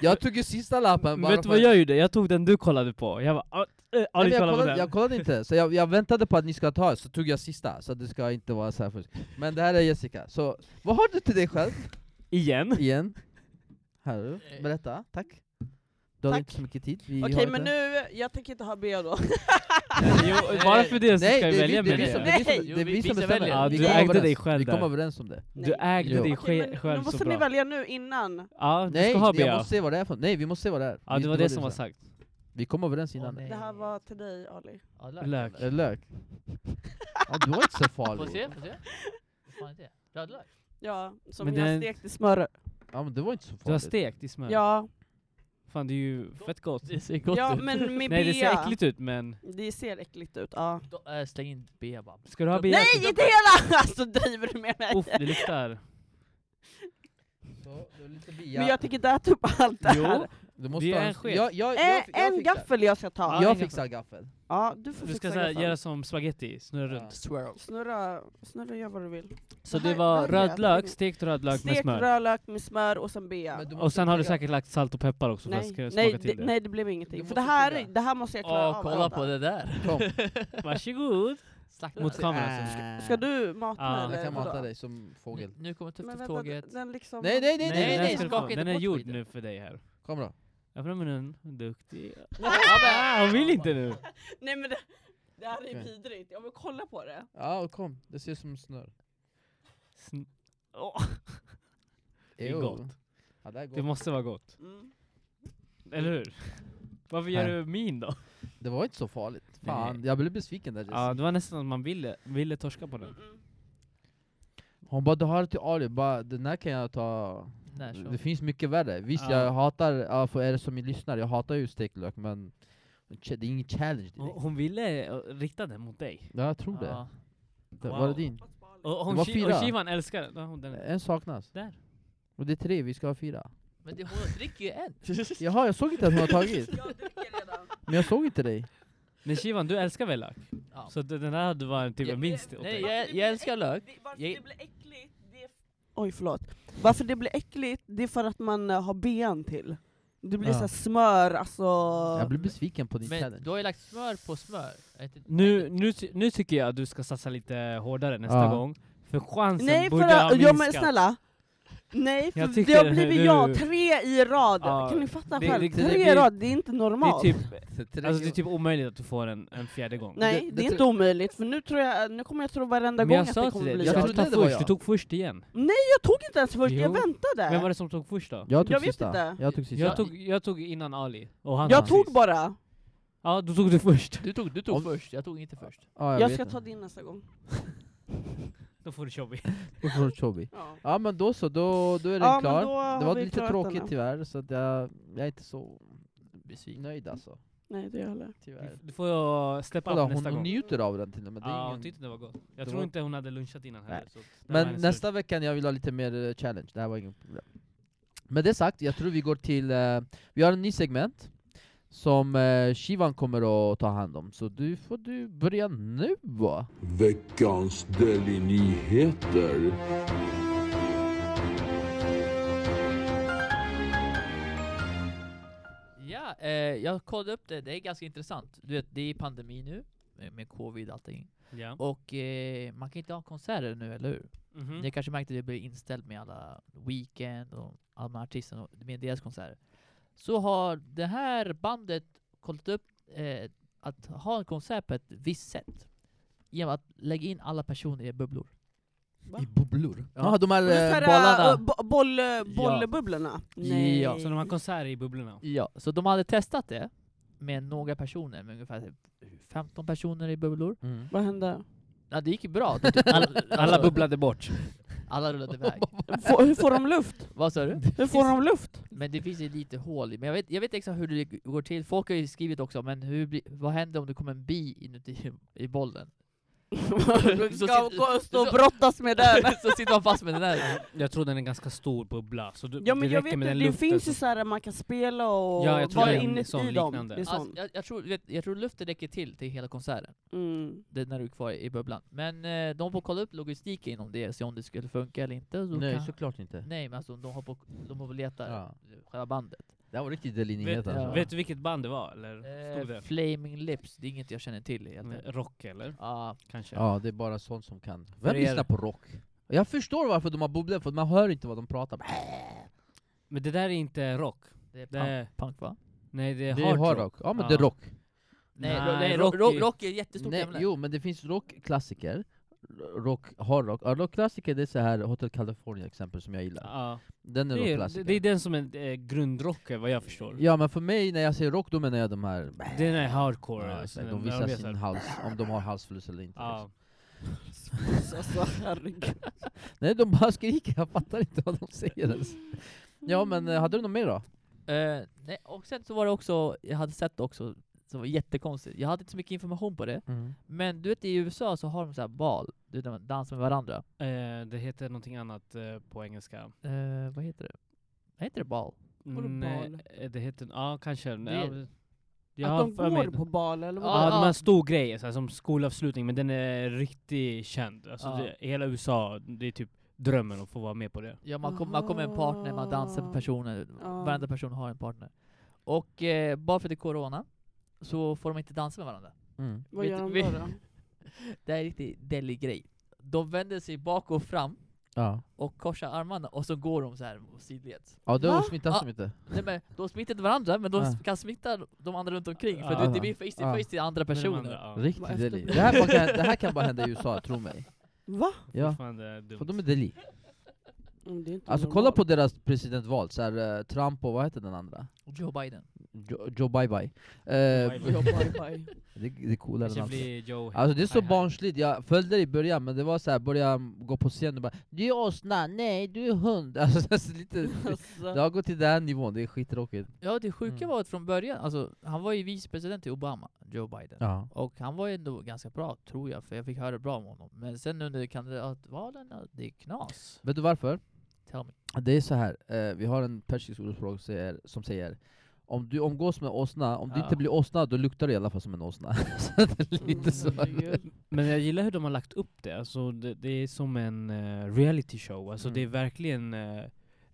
Speaker 2: Jag tog ju sista lappen
Speaker 3: Men
Speaker 2: bara
Speaker 3: vet du vad
Speaker 2: för-
Speaker 3: jag gjorde? Jag tog den du kollade på. Jag bara... "Ah, eh,
Speaker 2: Nej, men
Speaker 3: Ali
Speaker 2: jag,
Speaker 3: kollade på
Speaker 2: kollade, jag
Speaker 3: den.
Speaker 2: kollade inte, så jag, jag väntade på att ni ska ta, så tog jag sista, så det ska inte vara så här först. Men det här är Jessica, så vad har du till dig själv?
Speaker 3: Igen.
Speaker 2: Igen? Här, du.
Speaker 4: Eh.
Speaker 2: berätta, tack. Du hade
Speaker 1: Tack.
Speaker 2: inte så mycket tid. Vi
Speaker 1: Okej
Speaker 2: har
Speaker 1: men
Speaker 2: inte-
Speaker 1: nu, jag tänker inte ha B då.
Speaker 3: Jo, bara för det så
Speaker 2: eh, Nej,
Speaker 3: ska
Speaker 2: det
Speaker 3: vi
Speaker 2: är
Speaker 3: välja
Speaker 2: vi- det är vi
Speaker 3: mellan
Speaker 2: som-
Speaker 3: det.
Speaker 2: det är vi
Speaker 1: Nej.
Speaker 2: som- det är
Speaker 4: Jo,
Speaker 2: vi som
Speaker 4: vi ska
Speaker 2: bestämmer.
Speaker 4: välja.
Speaker 3: Ja,
Speaker 2: Vi
Speaker 3: du
Speaker 2: kom
Speaker 3: ägde
Speaker 2: överens.
Speaker 3: dig själv
Speaker 2: Vi kom
Speaker 3: där.
Speaker 2: överens om det.
Speaker 1: Nej.
Speaker 3: Du ägde
Speaker 2: Jo.
Speaker 3: dig
Speaker 1: Okej,
Speaker 3: sj-
Speaker 1: men
Speaker 3: själv
Speaker 1: Nu
Speaker 3: så
Speaker 1: måste ni
Speaker 3: bra.
Speaker 1: välja nu innan.
Speaker 3: Ja, du
Speaker 2: Nej,
Speaker 3: ska ha
Speaker 2: jag
Speaker 3: Bea.
Speaker 2: måste se vad det är för Nej, vi måste se vad det är.
Speaker 3: Ja,
Speaker 2: Vi-
Speaker 3: det var det som
Speaker 2: du
Speaker 3: var
Speaker 2: sa.
Speaker 3: sagt.
Speaker 2: Vi kom överens innan.
Speaker 4: nej.
Speaker 1: Det här var till dig Ali.
Speaker 4: Ja,
Speaker 3: Lök.
Speaker 2: Eh, Lök. Ja, du var inte så
Speaker 4: Får
Speaker 2: farlig.
Speaker 4: se, får se. Vad fan är det? Röd lök?
Speaker 1: Ja, som
Speaker 3: Men
Speaker 1: jag
Speaker 3: den-
Speaker 1: stekt i smör.
Speaker 2: Ja, men det var inte så
Speaker 3: Du har
Speaker 2: farligt.
Speaker 3: stekt i smör.
Speaker 1: Ja,
Speaker 3: Fan det är ju fett gott.
Speaker 4: Det ser gott
Speaker 1: ja
Speaker 4: ut.
Speaker 1: men med
Speaker 3: Nej det ser
Speaker 1: bea.
Speaker 3: äckligt ut men...
Speaker 1: Det ser äckligt ut, ja.
Speaker 4: Då, äh, släng in B bara.
Speaker 3: Ska du ha Bea?
Speaker 1: Nej inte hela! Alltså driver du med mig?
Speaker 3: Uff, det luktar.
Speaker 2: Så, det var lite
Speaker 1: Men
Speaker 2: bia.
Speaker 1: jag tänker inte äta upp allt det här.
Speaker 3: Jo,
Speaker 2: Du måste
Speaker 3: det är
Speaker 2: ha
Speaker 3: en sked.
Speaker 2: Jag, jag, jag,
Speaker 1: Äh,
Speaker 2: jag,
Speaker 1: en
Speaker 2: fixar.
Speaker 1: gaffel jag ska ta.
Speaker 3: Ja,
Speaker 2: jag
Speaker 3: en
Speaker 2: fixar gaffel.
Speaker 1: Ja, du får
Speaker 3: du ska
Speaker 1: fixa
Speaker 3: såhär,
Speaker 1: gaffeln.
Speaker 3: göra som spaghetti, snurra
Speaker 2: Ja.
Speaker 3: runt.
Speaker 4: Swirl.
Speaker 1: Snurra, snurra gör vad du vill.
Speaker 3: Så
Speaker 1: Det här-
Speaker 3: det
Speaker 1: det
Speaker 3: var
Speaker 1: här är
Speaker 3: röd
Speaker 1: jävligt
Speaker 3: lök,
Speaker 1: gott.
Speaker 3: stekt röd lök med
Speaker 1: Stekt
Speaker 3: smör.
Speaker 1: rödlök med smör och sen bea.
Speaker 2: Men du
Speaker 3: Och
Speaker 2: måste
Speaker 3: sen har du
Speaker 2: tugga.
Speaker 3: säkert lagt salt och peppar också för att det
Speaker 1: Nej,
Speaker 3: ska smaka
Speaker 1: nej,
Speaker 3: till
Speaker 1: det,
Speaker 3: det.
Speaker 1: nej det blev
Speaker 2: Du
Speaker 1: ingenting. För
Speaker 2: måste
Speaker 1: det
Speaker 4: typ
Speaker 1: här,
Speaker 2: tugga.
Speaker 1: det här måste jag klara
Speaker 4: Åh,
Speaker 1: av.
Speaker 4: kolla
Speaker 1: Adam.
Speaker 4: på det där.
Speaker 2: Kom. Äh.
Speaker 3: Varsågod!
Speaker 4: Slakta
Speaker 3: Mot
Speaker 4: det.
Speaker 3: kameran så.
Speaker 1: Äh. Ska du mata
Speaker 3: Ja,
Speaker 1: mig
Speaker 3: jag
Speaker 1: eller?
Speaker 2: Jag kan
Speaker 1: vadå?
Speaker 2: mata dig som fågel.
Speaker 4: Nu kommer
Speaker 1: Men
Speaker 4: tufft
Speaker 1: vänta,
Speaker 4: tåget.
Speaker 1: Den liksom...
Speaker 2: Nej, nej, nej, nej,
Speaker 4: Nej,
Speaker 3: den
Speaker 2: nej!
Speaker 3: ska
Speaker 2: nej.
Speaker 3: du få.
Speaker 4: skaka inte
Speaker 3: Den är
Speaker 4: bort
Speaker 3: gjord
Speaker 4: skiten.
Speaker 3: nu för dig här.
Speaker 2: Kom då.
Speaker 3: Öppna munnen, duktig.
Speaker 4: Ja, men-
Speaker 3: Ah, hon vill inte nu!
Speaker 1: Nej men det, det här är
Speaker 2: Okej.
Speaker 1: vidrigt. Jag vill kolla på det.
Speaker 2: Ja, kom. Det ser ut som snör.
Speaker 3: Sn- Åh, Det är
Speaker 2: Jo.
Speaker 3: gott.
Speaker 2: Ja, det, är
Speaker 3: det
Speaker 2: gott.
Speaker 3: måste vara gott.
Speaker 1: Mm.
Speaker 3: Eller hur? Varför gör
Speaker 2: Nej.
Speaker 3: du min då?
Speaker 2: det var inte så farligt. Fan,
Speaker 3: Nej.
Speaker 2: jag blev besviken där
Speaker 3: Ja,
Speaker 2: Jessica.
Speaker 3: det var nästan att man ville, ville torska på den.
Speaker 1: Mm-mm.
Speaker 2: Hon bara, du har det till Ali. Bara, den här kan jag ta.
Speaker 4: Nej, så.
Speaker 2: Det finns mycket värre. Visst,
Speaker 3: Ja.
Speaker 2: jag hatar, ja, för er som lyssnar, jag hatar ju steklök men det är ingen challenge direkt.
Speaker 3: Hon, hon ville eh, rikta den mot dig.
Speaker 2: Ja, jag tror det.
Speaker 4: Ja.
Speaker 2: det
Speaker 3: Wow.
Speaker 2: Var det din?
Speaker 3: Och,
Speaker 2: Det var
Speaker 3: hon, Ki-
Speaker 2: fyra.
Speaker 3: och Shivan älskar den. Ja, hon- den.
Speaker 2: Eh, En saknas.
Speaker 3: Där.
Speaker 2: Och det är tre, vi ska ha fyra.
Speaker 4: Men det, hon dricker ju en.
Speaker 2: Jaha, jag såg inte att hon har tagit.
Speaker 1: liksom. Jag dricker redan.
Speaker 2: Men jag såg inte dig.
Speaker 3: Men Shivan, du älskar väl lök?
Speaker 4: Ja.
Speaker 3: Så att den här hade varit typ
Speaker 4: Ja,
Speaker 3: en vinst åt
Speaker 4: Nej,
Speaker 3: dig.
Speaker 4: jag, jag älskar lök.
Speaker 1: Det, varför
Speaker 4: Jag-
Speaker 1: det blir äckligt, det är... Oj förlåt. Varför det blir äckligt, det är för att man eh, har ben till. Det blir
Speaker 2: Ja.
Speaker 1: så här smör, alltså...
Speaker 2: Jag blev besviken på din
Speaker 4: Men
Speaker 2: challenge.
Speaker 4: du har ju lagt smör på smör. Jag vet inte-
Speaker 3: Nu, nu, ty- nu tycker jag att du ska satsa lite hårdare nästa
Speaker 2: Ja.
Speaker 3: gång. För chansen
Speaker 1: Nej för
Speaker 3: borde ha
Speaker 1: att,
Speaker 3: minskat.
Speaker 1: ja, men snälla. Nej för
Speaker 3: Jag
Speaker 1: det
Speaker 3: tycker
Speaker 1: har
Speaker 3: det-
Speaker 1: blivit
Speaker 3: nu-
Speaker 1: jag, tre i rad.
Speaker 3: Ja,
Speaker 1: kan ni fatta
Speaker 3: det-
Speaker 1: själv?
Speaker 3: det- det
Speaker 1: tre i
Speaker 3: blir-
Speaker 1: rad, det är inte
Speaker 3: det, är
Speaker 1: normalt.
Speaker 3: typ, alltså, det är typ omöjligt att du får en, en fjärde gång.
Speaker 1: Nej
Speaker 2: det-
Speaker 1: det,
Speaker 2: det
Speaker 1: är
Speaker 2: tror-
Speaker 1: inte omöjligt, för nu tror jag, nu kommer jag tro varenda
Speaker 3: Men
Speaker 1: gång
Speaker 3: jag
Speaker 1: att det
Speaker 3: sa till
Speaker 1: kommer
Speaker 3: dig,
Speaker 1: bli
Speaker 3: jag
Speaker 2: jag.
Speaker 1: jag.
Speaker 3: trodde
Speaker 2: trodde
Speaker 3: ta
Speaker 2: det var
Speaker 3: först,
Speaker 2: jag.
Speaker 3: du tog först igen.
Speaker 1: Jag tog inte ens först, jag
Speaker 3: Jo.
Speaker 1: väntade.
Speaker 3: Vem var det som tog först då?
Speaker 2: Jag tog
Speaker 1: jag vet
Speaker 2: sista.
Speaker 1: inte.
Speaker 2: Jag tog sista.
Speaker 3: Jag tog, jag tog innan Ali. Och han
Speaker 1: jag
Speaker 3: tog
Speaker 1: tog
Speaker 3: sist.
Speaker 1: bara.
Speaker 3: Ja Ja, du tog det först.
Speaker 4: Du tog, du tog
Speaker 2: Om-
Speaker 4: först, jag tog inte först.
Speaker 2: Ja,
Speaker 1: Jag,
Speaker 2: vet
Speaker 1: ska
Speaker 2: det.
Speaker 1: ta din nästa gång.
Speaker 3: Då får du köpa
Speaker 2: Och så Chobby.
Speaker 1: Ja.
Speaker 2: Ja men då så, då, då är den
Speaker 1: Ja, men
Speaker 2: klar.
Speaker 1: då har
Speaker 2: Det var
Speaker 1: vi
Speaker 2: lite
Speaker 1: klarat
Speaker 2: tråkigt
Speaker 1: denna.
Speaker 2: tyvärr, så att jag, jag är inte så
Speaker 4: Besviken.
Speaker 2: nöjd alltså.
Speaker 1: Nej, det gör jag
Speaker 3: Eh,
Speaker 1: heller.
Speaker 2: Tyvärr.
Speaker 3: Du får jag släppa
Speaker 2: Kolla,
Speaker 3: upp
Speaker 2: hon,
Speaker 3: nästa
Speaker 2: hon
Speaker 3: gång.
Speaker 2: njuter av den till och med. Det är
Speaker 3: Ja, hon
Speaker 2: ingen-
Speaker 3: tyckte det var gott. Jag
Speaker 2: det
Speaker 3: tror
Speaker 2: var-
Speaker 3: inte hon hade lunchat innan heller.
Speaker 2: Nej.
Speaker 3: Så det var
Speaker 2: Men
Speaker 3: hennes lunch.
Speaker 2: nästa vecka när jag vill ha lite mer eh, challenge, det här var inget problem. Med det sagt, jag tror vi går till, eh, vi har en ny segment som eh, Shivan kommer att ta hand om, så du får du börja nu va?
Speaker 5: Veckans Deli-nyheter.
Speaker 4: Ja, eh, jag kollade upp det, det är ganska intressant. Du vet, det är pandemi nu, med, med covid och allting.
Speaker 3: Ja.
Speaker 4: Och eh, man kan inte ha konserter nu, eller hur?
Speaker 3: Mhm.
Speaker 4: Ni kanske märkte att det blev inställt med alla Weekend och alla de här artisterna, och med deras konserter. Så har det här bandet kollat upp eh, att ha en konsert på ett visst sätt. Genom att lägga in alla personer i bubblor.
Speaker 1: Va?
Speaker 2: I bubblor? Ja,
Speaker 4: Ja.
Speaker 2: de här
Speaker 1: Och det är
Speaker 2: eh,
Speaker 1: så här,
Speaker 4: bollarna.
Speaker 1: eh, bo- boll, bollbubblorna? Nej.
Speaker 4: Ja,
Speaker 3: Så de har konserter i bubblorna.
Speaker 4: Ja, så de hade testat det med några personer, med ungefär typ 15 personer i bubblor.
Speaker 2: mm.
Speaker 1: Vad hände?
Speaker 4: Ja, det gick ju bra. De typ- Alla,
Speaker 2: Alltså-
Speaker 3: Alla bubblade bort.
Speaker 4: Alla rullade iväg.
Speaker 1: Får, hur får de luft?
Speaker 4: Vad sa du?
Speaker 1: Hur får de luft?
Speaker 4: Men det finns ju lite hål i. Men jag vet, jag vet inte exakt hur det g- går till. Folk har ju skrivit också, men hur blir, vad händer om det kommer en bi inuti i bollen?
Speaker 1: De ska
Speaker 4: sit-
Speaker 1: gå och stå och
Speaker 4: så-
Speaker 1: brottas med den.
Speaker 4: så sitter man fast med den där.
Speaker 3: Jag tror den är en ganska stor bubbla, så du,
Speaker 1: Ja men
Speaker 3: det
Speaker 1: jag
Speaker 3: räcker
Speaker 1: vet
Speaker 3: med
Speaker 1: inte,
Speaker 3: den
Speaker 1: det
Speaker 3: luften
Speaker 1: finns
Speaker 3: som-
Speaker 1: ju så här man kan spela och
Speaker 3: Ja, jag tror
Speaker 1: vara
Speaker 4: det är en
Speaker 1: inne
Speaker 3: sån
Speaker 1: i dem.
Speaker 3: liknande.
Speaker 1: Det är
Speaker 4: Alltså,
Speaker 1: sånt.
Speaker 4: jag, jag, tror, vet, jag tror luften räcker till till hela konserten.
Speaker 1: Mm.
Speaker 4: Det är när du är kvar i bubblan. Men eh, de får kolla upp logistiken inom det, se om det skulle funka eller inte. Så
Speaker 2: Nej
Speaker 4: kan,
Speaker 2: såklart inte.
Speaker 4: nej men alltså de har på, de har på leta
Speaker 2: Ja.
Speaker 4: själva bandet.
Speaker 2: Det här var riktigt Deli-nyhet
Speaker 3: Vet,
Speaker 2: alltså.
Speaker 4: ja.
Speaker 3: vet du vilket band det var, eller? Stod
Speaker 4: Eh,
Speaker 3: det?
Speaker 4: Flaming Lips, det är inget jag känner till helt enkelt.
Speaker 3: Rock, eller?
Speaker 4: Ja,
Speaker 3: Kanske?
Speaker 2: Ja, det är bara sånt som kan.
Speaker 3: För
Speaker 2: Vem
Speaker 3: er-
Speaker 2: lyssnar på rock? Jag förstår varför de har bubblor, för man hör inte vad de pratar om.
Speaker 3: Men det där är inte rock.
Speaker 4: det är
Speaker 3: Det
Speaker 4: punk,
Speaker 3: är,
Speaker 4: punk va?
Speaker 3: nej, det är,
Speaker 2: Det är hard rock. Ja men det är
Speaker 3: Ja.
Speaker 2: rock.
Speaker 3: Nej,
Speaker 4: Nej, nej
Speaker 3: rock
Speaker 4: rock,
Speaker 3: är-
Speaker 4: rock, rock är ett jättestort
Speaker 2: Nej,
Speaker 4: ämne.
Speaker 2: Jo men det finns rockklassiker, rock, hardrock. Ja, rockklassiker det är så här Hotel California exempel som jag gillar.
Speaker 3: Ja.
Speaker 2: Den är
Speaker 3: Det, är,
Speaker 2: rockklassiker.
Speaker 3: det är den som är eh, grundrocken, vad jag förstår.
Speaker 2: Ja men för mig när jag säger rock då menar jag de här
Speaker 3: Den är hardcore.
Speaker 2: ja,
Speaker 3: alltså,
Speaker 2: exakt,
Speaker 3: den-
Speaker 2: de
Speaker 3: jag
Speaker 2: visar
Speaker 3: vet
Speaker 2: sin
Speaker 3: att-
Speaker 2: hals, om de har halsfluss eller inte.
Speaker 3: Ja.
Speaker 2: liksom.
Speaker 1: Alltså herregud.
Speaker 2: Nej de bara skriker, jag fattar inte vad de säger ens. Ja men eh, hade du något mer då?
Speaker 4: Eh, nej, och sen så var det också, jag hade sett också, som var jättekonstigt. Jag hade inte så mycket information på det. Men du vet i USA så har de så här bal, du vet när man dansar med varandra.
Speaker 2: liksom.
Speaker 3: Eh, det heter någonting annat eh, på engelska.
Speaker 4: Eh, vad heter det? Vad heter det bal?
Speaker 1: Vadå
Speaker 3: Nej,
Speaker 1: bal?
Speaker 3: eh, det heter, ja kanske.
Speaker 4: Det-
Speaker 3: ja, jag
Speaker 1: Att
Speaker 3: har
Speaker 1: de
Speaker 3: för mig-
Speaker 1: går på bal eller
Speaker 3: Ja,
Speaker 1: vad?
Speaker 4: Ja,
Speaker 3: de har
Speaker 4: ja.
Speaker 3: en stor grej, så här, som skolavslutning, men den är riktigt känd. Alltså,
Speaker 4: Ja.
Speaker 3: det, i hela USA, det är typ drömmen att få vara med på det.
Speaker 4: Ja man kommer man kom med en partner, man dansar med
Speaker 1: Aha.
Speaker 4: personer,
Speaker 1: Ja.
Speaker 4: varenda person har en partner. Och eh, bara för att det är corona så får de inte dansa med varandra.
Speaker 2: Mm.
Speaker 1: Vad
Speaker 4: vet-
Speaker 1: gör de
Speaker 4: vi-
Speaker 1: då? då?
Speaker 4: Det är en riktigt delig grej. De vänder sig bak och fram
Speaker 2: Ja.
Speaker 4: och korsar armarna och så går de så här sidleds.
Speaker 2: Ja då
Speaker 1: Va?
Speaker 2: smittas
Speaker 3: Ah.
Speaker 4: Ja.
Speaker 2: de inte.
Speaker 4: Nej men de smittar inte varandra, men de
Speaker 2: Ja.
Speaker 4: kan smitta de andra runt omkring för
Speaker 3: Ja,
Speaker 4: det, det
Speaker 2: ja.
Speaker 4: blir face to
Speaker 2: Ja.
Speaker 4: face till andra
Speaker 3: Men de
Speaker 4: personer.
Speaker 3: andra, ja.
Speaker 1: Vad
Speaker 2: Riktigt
Speaker 1: efter-
Speaker 2: deli. Det här, bara kan, det här kan bara hända i USA, tro mig.
Speaker 1: Va?
Speaker 2: Ja.
Speaker 3: Fortfarande dumt.
Speaker 2: För de är deli.
Speaker 1: Mm, det är inte
Speaker 2: Alltså kolla
Speaker 1: normalt.
Speaker 2: på deras presidentval, så här, eh, Trump och vad heter den andra?
Speaker 4: Joe Biden.
Speaker 2: Jo- Joe Bye Bye. Eh,
Speaker 3: Bye Bye.
Speaker 1: Ja, bye, bye.
Speaker 2: det, det är coolare än
Speaker 3: Kanske
Speaker 2: allt.
Speaker 3: blir Joe
Speaker 2: Alltså det är så
Speaker 3: Hi-Hi.
Speaker 2: barnsligt, jag följde det i början men det var så här, började gå på scen och bara Du är åsna, nej du är hund. Alltså, det är så lite,
Speaker 1: Alltså.
Speaker 2: det har gått till den här nivån, det är skittråkigt.
Speaker 4: Ja det sjuka
Speaker 2: Mm.
Speaker 4: var att från början, alltså han var ju vicepresident till Obama, Joe Biden.
Speaker 2: Ja.
Speaker 4: Och han var ju ändå ganska bra tror jag, för jag fick höra bra om honom. Men sen under kandidatvalen, ja, det är knas.
Speaker 2: Vet du varför?
Speaker 4: Tell me.
Speaker 2: Det är så här, eh, vi har en persisk ordspråk som säger- som säger om du omgås med åsna, om du
Speaker 4: Ja.
Speaker 2: inte blir åsna då luktar du i alla fall som en åsna. så det är
Speaker 3: Mm.
Speaker 2: lite så.
Speaker 1: Mm, Herregud.
Speaker 3: Men jag gillar hur de har lagt upp det. Alltså, det, det är som en eh, reality show. Alltså,
Speaker 2: Mm.
Speaker 3: Det är verkligen eh,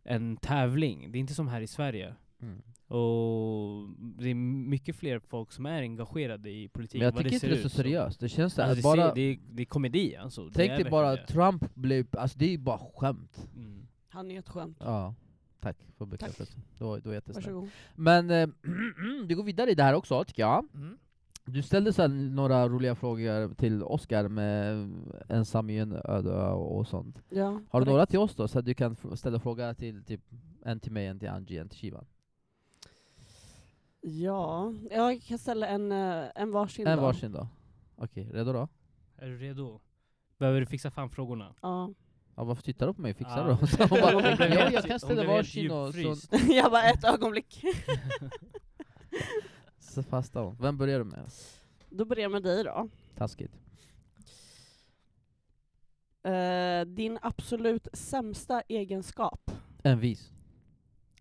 Speaker 3: en tävling. Det är inte som här i Sverige.
Speaker 2: Mm.
Speaker 3: Och det är mycket fler folk som är engagerade i politik.
Speaker 2: Men jag
Speaker 3: vad
Speaker 2: tycker inte
Speaker 3: ser
Speaker 2: det är så
Speaker 3: ut som.
Speaker 2: seriöst, det känns så här,
Speaker 3: Alltså, det,
Speaker 2: bara...
Speaker 3: ser, det, är, det är komedi alltså. Det är
Speaker 2: Tänk dig bara att
Speaker 3: verkligen
Speaker 2: Trump blev, alltså det är ju bara skämt.
Speaker 3: det. Mm.
Speaker 1: Han är ett skämt.
Speaker 2: Ja. Tack för bekräftelsen. Det var, det var jättesnällt.
Speaker 1: Varsågod.
Speaker 2: Men eh, vi går vidare i det här också tycker jag.
Speaker 4: Mm.
Speaker 2: Du ställde så här några roliga frågor till Oscar med ensam i en öde ö och sånt.
Speaker 1: Ja.
Speaker 2: Har du
Speaker 1: Korrekt.
Speaker 2: några till oss då? Så att du kan f- ställa fråga till typ en till mig, en till Angie, en till Shivan.
Speaker 1: Ja, jag kan ställa en, eh, en varsin
Speaker 2: En
Speaker 1: då.
Speaker 2: varsin då. Okej, redo då?
Speaker 3: Är du redo? Behöver du fixa fram frågorna?
Speaker 1: Ja.
Speaker 2: Ja, varför tittar du på mig och fixar
Speaker 3: Ah.
Speaker 2: då? Så hon bara,
Speaker 3: Hon blev
Speaker 2: ja,
Speaker 3: helt-
Speaker 2: jag kan
Speaker 3: hon
Speaker 2: ställa
Speaker 3: blev helt
Speaker 2: varsin och så,
Speaker 3: djupfryst.
Speaker 1: jag bara ett ögonblick.
Speaker 2: så fastar hon. Vem börjar du med?
Speaker 1: Då börjar jag med dig då.
Speaker 2: Taskigt.
Speaker 1: Eh, din absolut sämsta egenskap?
Speaker 2: Envis.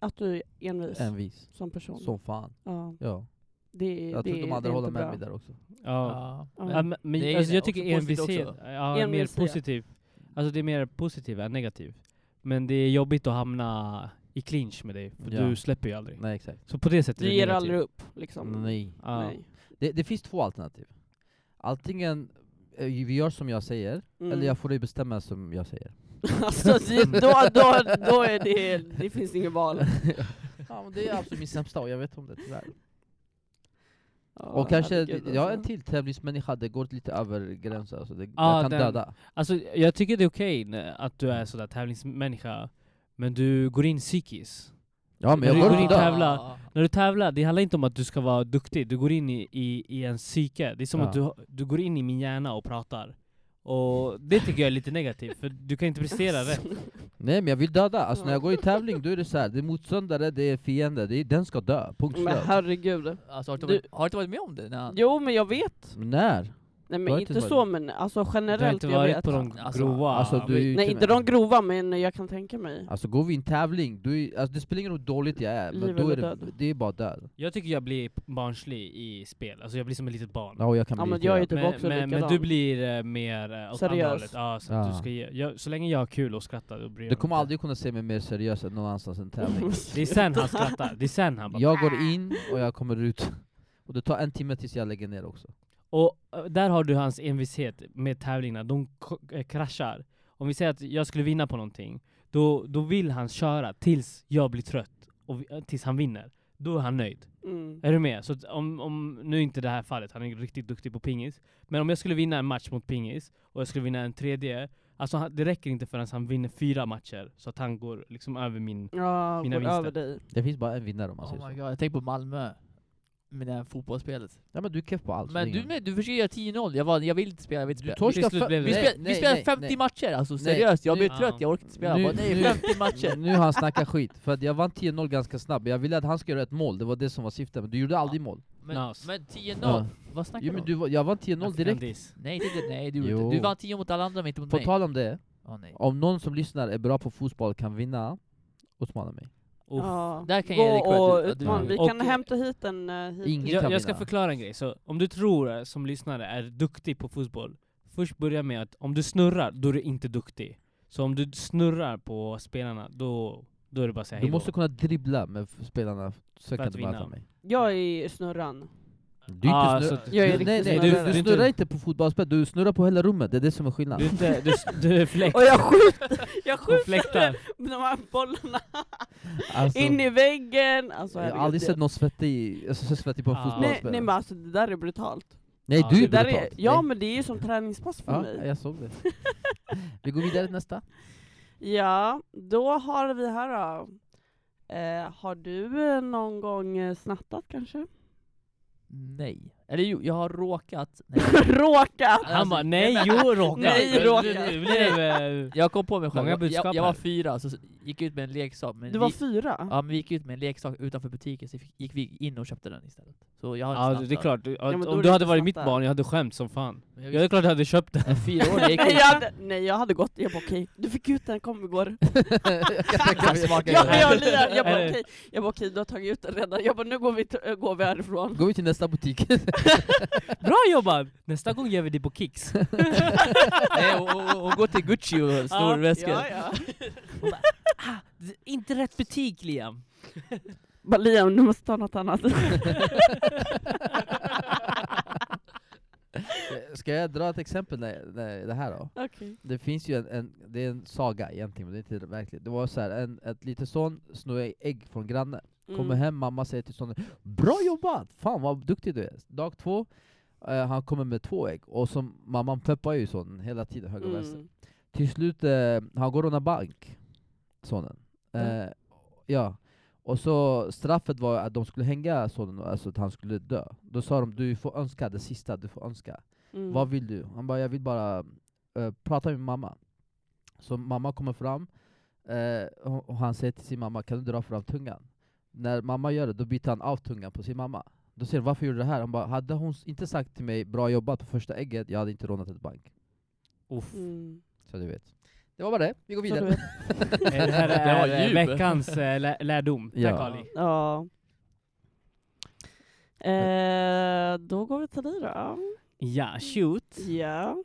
Speaker 1: Att du är envis
Speaker 2: Envis.
Speaker 1: som person.
Speaker 2: Som fan.
Speaker 1: Ja,
Speaker 2: Ja.
Speaker 1: det,
Speaker 2: Jag
Speaker 1: det,
Speaker 2: tror de
Speaker 1: det
Speaker 2: andra
Speaker 1: är
Speaker 2: håller
Speaker 1: inte
Speaker 2: med
Speaker 1: bra.
Speaker 2: mig där också.
Speaker 3: Ja.
Speaker 4: Ja.
Speaker 1: Ja.
Speaker 3: ja. Men, men
Speaker 4: Det är ju
Speaker 3: alltså, jag
Speaker 4: också
Speaker 3: tycker
Speaker 4: positivt
Speaker 3: envishet
Speaker 4: också.
Speaker 3: ja, är mer
Speaker 1: Envishet.
Speaker 3: positiv. Alltså det är mer positiv än negativ. Men det är jobbigt att hamna i clinch med dig, för
Speaker 2: Ja.
Speaker 3: du släpper ju aldrig.
Speaker 2: Nej exakt.
Speaker 3: Så på det sättet är
Speaker 1: Du
Speaker 3: det
Speaker 1: ger
Speaker 3: negativ.
Speaker 1: aldrig upp liksom?
Speaker 2: Nej.
Speaker 3: Ja.
Speaker 1: Nej.
Speaker 2: Det, det finns två alternativ. Antingen eh, vi gör som jag säger,
Speaker 1: Mm.
Speaker 2: eller jag får dig bestämma som jag säger.
Speaker 1: alltså, det, då, då, då är det, det finns inget val.
Speaker 2: ja, men det är alltså min sämsta och jag vet om det tyvärr.
Speaker 1: Ja,
Speaker 2: Och kanske,
Speaker 1: herregud,
Speaker 2: jag är en
Speaker 1: alltså.
Speaker 2: till tävlingsmänniska, det går lite över gränsen. Alltså det,
Speaker 3: Ah,
Speaker 2: jag kan
Speaker 3: den-
Speaker 2: döda.
Speaker 3: Alltså jag tycker det är okej när- att du är sådär tävlingsmänniska, men du går in psykiskt.
Speaker 2: Ja men jag
Speaker 3: du
Speaker 2: går
Speaker 3: går
Speaker 2: inte
Speaker 3: in
Speaker 2: och dör.
Speaker 3: tävla. När du tävlar, det handlar inte om att du ska vara duktig, du går in i, i, i en psyke. Det är som
Speaker 2: Ja.
Speaker 3: att du, du går in i min hjärna och pratar. Och det tycker jag är lite negativt, för du kan inte prestera
Speaker 1: Alltså,
Speaker 3: rätt.
Speaker 2: Nej men jag vill döda, alltså när
Speaker 1: Ja.
Speaker 2: jag går i tävling då är det så här, det är motståndare, det är fiende, det är, den ska dö, punkt
Speaker 1: Men
Speaker 2: slut.
Speaker 1: herregud.
Speaker 4: Alltså, har, du
Speaker 1: Du-
Speaker 4: varit, har du inte varit med om det? När,
Speaker 1: Jo men jag vet.
Speaker 2: Men När?
Speaker 1: Nej
Speaker 2: Jag
Speaker 1: men
Speaker 2: har
Speaker 1: inte
Speaker 2: inte
Speaker 1: så
Speaker 2: varit-
Speaker 1: men alltså
Speaker 3: Du har
Speaker 1: generellt
Speaker 3: inte
Speaker 1: jag vet.
Speaker 3: varit på de
Speaker 4: Alltså,
Speaker 3: grova...
Speaker 2: Alltså du är ju
Speaker 1: Nej inte
Speaker 2: med.
Speaker 1: de grova men jag kan tänka mig.
Speaker 2: Alltså går vi i en tävling, då är, alltså, det spelar ingen roll hur dåligt jag är, men
Speaker 1: Liv
Speaker 2: då är
Speaker 1: eller
Speaker 2: det,
Speaker 1: död.
Speaker 2: det är bara död.
Speaker 3: Jag tycker jag blir barnslig i spel, alltså jag blir som ett litet barn.
Speaker 2: Ja och jag kan
Speaker 1: Ja
Speaker 2: bli
Speaker 1: men jag är
Speaker 2: irriterad.
Speaker 1: typ
Speaker 3: Men,
Speaker 1: också
Speaker 3: men, men
Speaker 1: likadan.
Speaker 3: du blir eh, mer eh, åt andra
Speaker 1: Seriös.
Speaker 3: hållet. Ja, så, att
Speaker 2: Ja.
Speaker 3: Du ska ge, jag, så länge jag har kul och skrattar då bryr jag
Speaker 2: Du
Speaker 3: mig
Speaker 2: kommer
Speaker 3: inte.
Speaker 2: aldrig kunna se mig mer seriös än någon annanstans i en tävling.
Speaker 3: Det är sen han skrattar, det är sen han bara...
Speaker 2: Jag går in och jag kommer ut. Och det tar en timme tills jag lägger ner också.
Speaker 3: Och eh, där har du hans envishet med tävlingarna, de k- eh, kraschar. Om vi säger att jag skulle vinna på någonting, då, då vill han köra tills jag blir trött, och vi, eh, tills han vinner. Då är han nöjd.
Speaker 1: Mm.
Speaker 3: Är du med? Så att om, om, nu är inte det här fallet, han är riktigt duktig på pingis. Men om jag skulle vinna en match mot pingis, och jag skulle vinna en tredje, alltså han, det räcker inte förrän han vinner fyra matcher, så att han går liksom över min...
Speaker 1: Ja,
Speaker 3: Mina
Speaker 1: går
Speaker 3: vinster.
Speaker 1: över dig.
Speaker 2: Det finns bara en vinnare om man säger
Speaker 4: oh my
Speaker 2: så.
Speaker 4: god, jag tänker på Malmö. Med det här fotbollsspelet.
Speaker 2: Ja, men du är keff på allt. det
Speaker 4: Men
Speaker 2: är
Speaker 4: du,
Speaker 2: ingen-
Speaker 4: nej, du försöker göra 10-0, jag, var, jag vill inte spela, jag vill inte
Speaker 2: Du
Speaker 4: spela.
Speaker 2: torskar
Speaker 3: Till slut
Speaker 2: för...
Speaker 3: blev det-
Speaker 4: vi
Speaker 3: Nej,
Speaker 4: spelar, vi spelar 50 matcher alltså, seriöst. Jag
Speaker 2: nu-
Speaker 4: blir
Speaker 3: Ja.
Speaker 4: trött, jag orkar inte spela.
Speaker 2: Nu-
Speaker 4: bara, nej,
Speaker 2: nu-
Speaker 4: 50 matcher.
Speaker 2: Nu har han snackat skit, för att jag vann 10-0 ganska snabbt, jag ville att han skulle göra ett mål, det var det som var syftet, men du gjorde aldrig mål.
Speaker 4: Men,
Speaker 3: Nas.
Speaker 4: men 10-0,
Speaker 2: Ja.
Speaker 4: vad snackar
Speaker 2: Jo
Speaker 4: du
Speaker 2: men
Speaker 4: om?
Speaker 2: du, var- jag vann
Speaker 3: Alltså,
Speaker 2: 10-0 direkt.
Speaker 3: Gandis.
Speaker 4: Nej, det, nej du, gjorde
Speaker 2: Jo.
Speaker 4: inte. du vann 10 mot alla andra men inte mot
Speaker 2: På
Speaker 4: mig.
Speaker 2: tal om det,
Speaker 4: Åh, nej.
Speaker 2: om någon som lyssnar är bra på fotboll kan vinna, utmana mig.
Speaker 3: Uff.
Speaker 1: Ja.
Speaker 4: Där kan
Speaker 1: Gå
Speaker 4: jag ge dig cred,
Speaker 1: och
Speaker 4: du- att du-
Speaker 1: utmana. Vi
Speaker 3: Och-
Speaker 1: kan hämta hit en eh, hit.
Speaker 2: Ingen-
Speaker 3: Jag,
Speaker 2: kan
Speaker 3: jag ska
Speaker 2: vinna.
Speaker 3: förklara en grej. Så om du tror eh, som lyssnare är duktig på fotboll, först börja med att om du snurrar, då är du inte duktig. Så om du snurrar på spelarna, då, då är det bara att säga
Speaker 2: Du
Speaker 3: hejdå.
Speaker 2: måste kunna dribbla med f- spelarna, så kan
Speaker 3: att
Speaker 2: du
Speaker 3: vinna.
Speaker 2: möta mig.
Speaker 1: Jag är snurran.
Speaker 2: Du är
Speaker 3: Ah,
Speaker 2: inte
Speaker 3: så
Speaker 2: snurr...
Speaker 3: att-
Speaker 1: Jag är
Speaker 2: Du- nej,
Speaker 1: riktigt
Speaker 2: nej,
Speaker 3: snurrare.
Speaker 2: du, du
Speaker 3: Du-
Speaker 2: snurrar
Speaker 3: du-
Speaker 2: inte på fotbollsspel, du snurrar på hela rummet, det är det som är
Speaker 3: Du, är
Speaker 2: skillnaden.
Speaker 3: inte, du, s- du är fläkt,
Speaker 1: Och jag skjuter, jag
Speaker 3: hon
Speaker 1: skjuter
Speaker 3: fläktar.
Speaker 1: de här bollarna
Speaker 2: Alltså,
Speaker 1: in i väggen. Alltså,
Speaker 2: jag har
Speaker 1: herregud,
Speaker 2: aldrig
Speaker 1: det-
Speaker 2: sett någon svettig, alltså, så svettig på en
Speaker 3: Ah.
Speaker 1: Nej,
Speaker 2: fotbollsspelare.
Speaker 1: nej men alltså det där är brutalt.
Speaker 2: Nej,
Speaker 3: Ja,
Speaker 2: du
Speaker 3: det
Speaker 2: är
Speaker 1: Det där är,
Speaker 2: brutalt.
Speaker 1: ja
Speaker 2: Nej.
Speaker 1: men det är ju som träningspass för mig.
Speaker 2: Ja, jag såg det. Vi går vidare till nästa.
Speaker 1: Ja, då har vi här då. Eh, har du eh, någon gång eh, snattat kanske?
Speaker 4: Nej. Eller jo, jag har råkat... Nej.
Speaker 1: Råkat!
Speaker 4: Alltså,
Speaker 3: Han bara nej, jo råka.
Speaker 1: Nej,
Speaker 3: Det-
Speaker 1: råka.
Speaker 3: det- det blev, eh,
Speaker 4: Jag kom på mig själv,
Speaker 3: Många
Speaker 4: jag,
Speaker 3: budskap
Speaker 4: jag, jag var
Speaker 3: här.
Speaker 4: fyra, så s- gick ut med en leksak. Men
Speaker 1: Du var
Speaker 4: vi,
Speaker 1: fyra?
Speaker 4: Ja, men vi gick ut med en leksak utanför butiken, så fick- gick vi in och köpte den istället. Så jag har
Speaker 3: Ja alltså,
Speaker 4: inte
Speaker 3: det är klart,
Speaker 4: snattat.
Speaker 3: Du-
Speaker 1: men då är
Speaker 3: om
Speaker 1: det
Speaker 3: du hade
Speaker 1: inte
Speaker 3: varit mitt
Speaker 1: snattat.
Speaker 3: barn, jag hade skämt som fan.
Speaker 4: Men
Speaker 3: Jag är klart jag hade köpt den.
Speaker 4: En fyraåring, jag gick
Speaker 1: Nej
Speaker 4: ut
Speaker 1: jag, hade, nej jag hade gått, jag bara okej, du fick ut den, kom vi går.
Speaker 4: och smakade
Speaker 1: Ja,
Speaker 4: den.
Speaker 1: jag, lirar. jag bara
Speaker 3: Eh.
Speaker 1: okej, jag bara, okej du har tagit ut den redan, jag bara nu går vi, t- äh, går vi härifrån.
Speaker 2: Går vi till nästa butik.
Speaker 3: Bra jobbat! Nästa gång gör vi det på Kicks.
Speaker 4: Nej, och, och, och gå till Gucci och snor väskor.
Speaker 1: Ja, ja.
Speaker 3: Inte rätt butik Liam.
Speaker 1: Bara Liam, du måste ta något annat.
Speaker 2: Eh, Ska jag dra ett exempel när, när det här då?
Speaker 1: Okej.
Speaker 2: Det finns ju en, en, det är en saga egentligen, men det är inte verkligt. Det var så här, en, ett litet son snor ägg från grannen.
Speaker 1: Mm.
Speaker 2: Kommer hem, mamma säger till sonen Bra jobbat! Fan vad duktig du är! Dag två, eh, han kommer med två ägg, och som mamman peppar ju sonen hela tiden, höger och vänster.
Speaker 1: Mm.
Speaker 2: Till slut, eh, han går och rånar bank, sonen. Eh, ja. Och så straffet var att de skulle hänga sonen, alltså att han skulle dö. Då sa de du får önska det sista, du får önska.
Speaker 1: Mm.
Speaker 2: Vad vill du? Han bara, jag vill bara eh, prata med mamma. Så mamma kommer fram, eh, och och han säger till sin mamma, kan du dra fram tungan? När mamma gör det, då byter han av tungan på sin mamma. Då säger hon, varför gjorde du det här? Han bara, hade hon s- inte sagt till mig, bra jobbat på första ägget, jag hade inte rånat ett bank.
Speaker 3: Uff.
Speaker 1: Mm.
Speaker 2: Så du vet. Det var bara det, vi går
Speaker 1: Så du
Speaker 2: vidare.
Speaker 1: vet.
Speaker 3: Eh, Det här
Speaker 4: Det var
Speaker 3: är eh,
Speaker 4: djup.
Speaker 3: veckans eh, lä- lärdom. Tack
Speaker 2: Ja.
Speaker 3: Ali.
Speaker 1: Ja. Eh, då går vi till dig då.
Speaker 3: Ja, shoot.
Speaker 1: Ja.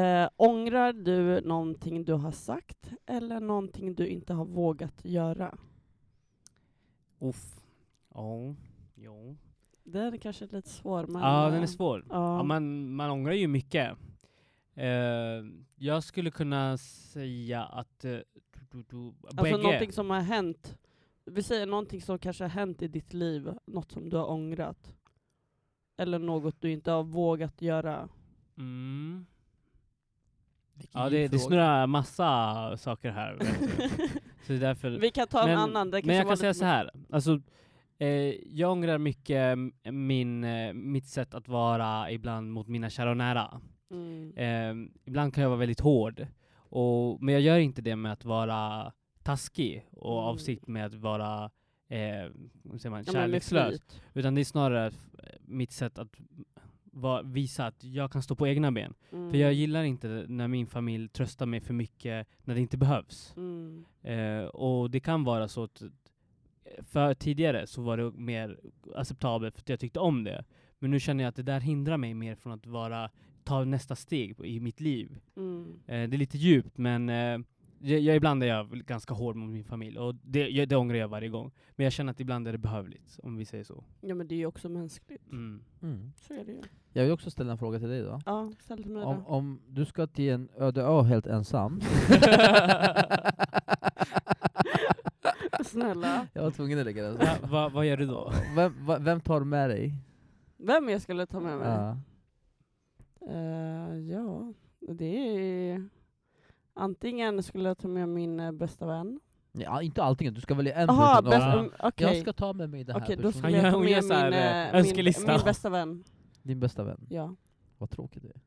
Speaker 1: Eh, ångrar du någonting du har sagt eller någonting du inte har vågat göra?
Speaker 3: Uff. Ja. Jo.
Speaker 1: Den är kanske lite svår. Men,
Speaker 3: Ja,
Speaker 1: eh,
Speaker 3: den är svår.
Speaker 1: Ja.
Speaker 3: Ja, man, man ångrar ju mycket. Eh, jag skulle kunna säga att... Uh, du, du, du,
Speaker 1: alltså
Speaker 3: bägge.
Speaker 1: någonting som har hänt. Vi säger någonting som kanske har hänt i ditt liv, något som du har ångrat. Eller något du inte har vågat göra.
Speaker 3: Mm.
Speaker 4: Vilken
Speaker 3: Ja, det, det
Speaker 4: fråga.
Speaker 3: snurrar massa saker här. så det är därför...
Speaker 1: Vi kan ta en
Speaker 3: Men-
Speaker 1: annan. Det
Speaker 3: Men
Speaker 1: kanske
Speaker 3: jag
Speaker 1: var
Speaker 3: kan säga
Speaker 1: lite-
Speaker 3: så här. Alltså, eh, jag ångrar mycket mm, min, eh, mitt sätt att vara ibland mot mina kära och nära.
Speaker 1: Mm.
Speaker 3: Eh, ibland kan jag vara väldigt hård. Och, men jag gör inte det med att vara taskig och
Speaker 1: Mm.
Speaker 3: avsikt med att vara eh, vad
Speaker 1: Ja,
Speaker 3: säger man,
Speaker 1: men med
Speaker 3: kärlekslös.
Speaker 1: flit.
Speaker 3: Utan det är snarare f- mitt sätt att va, visa att jag kan stå på egna ben.
Speaker 1: Mm.
Speaker 3: För jag gillar inte när min familj tröstar mig för mycket när det inte behövs.
Speaker 1: Mm.
Speaker 3: Eh, och det kan vara så att för tidigare så var det mer acceptabelt för att jag tyckte om det. Men nu känner jag att det där hindrar mig mer från att vara, ta nästa steg i mitt liv.
Speaker 1: Mm.
Speaker 3: Eh, det är lite djupt men eh, jag, jag, ibland är jag väl ganska hård mot min familj och det, jag, det ångrar jag varje gång. Men jag känner att ibland är det behövligt om vi säger så.
Speaker 1: Ja men det är ju också mänskligt.
Speaker 3: Mm.
Speaker 2: Mm.
Speaker 1: Så är det ju.
Speaker 2: Jag vill också ställa en fråga till dig då.
Speaker 1: Ja, ställ till mig
Speaker 2: Om,
Speaker 1: då.
Speaker 2: om du ska till en öde ö helt ensam.
Speaker 1: Snälla.
Speaker 2: jag var tvungen att lägga den så.
Speaker 3: Ja, vad- vad gör du då?
Speaker 2: Vem, va- vem tar med dig?
Speaker 1: Vem jag skulle ta med mig?
Speaker 2: Ja.
Speaker 1: Eh, ja, det är... Antingen skulle jag ta med min eh, bästa vän.
Speaker 2: Ja, inte allting, du ska välja en
Speaker 1: Jaha,
Speaker 2: person.
Speaker 1: bästa...
Speaker 3: Ja.
Speaker 1: mm, Okej,
Speaker 2: Jag ska ta med mig den här
Speaker 1: Okej, då
Speaker 2: personen.
Speaker 1: skulle jag ta
Speaker 3: Hon gör
Speaker 1: med
Speaker 3: så här,
Speaker 1: min,
Speaker 3: eh,
Speaker 1: eh, min,
Speaker 3: önskelista.
Speaker 1: min bästa vän.
Speaker 2: Din bästa vän.
Speaker 1: Ja.
Speaker 2: Vad tråkigt det är.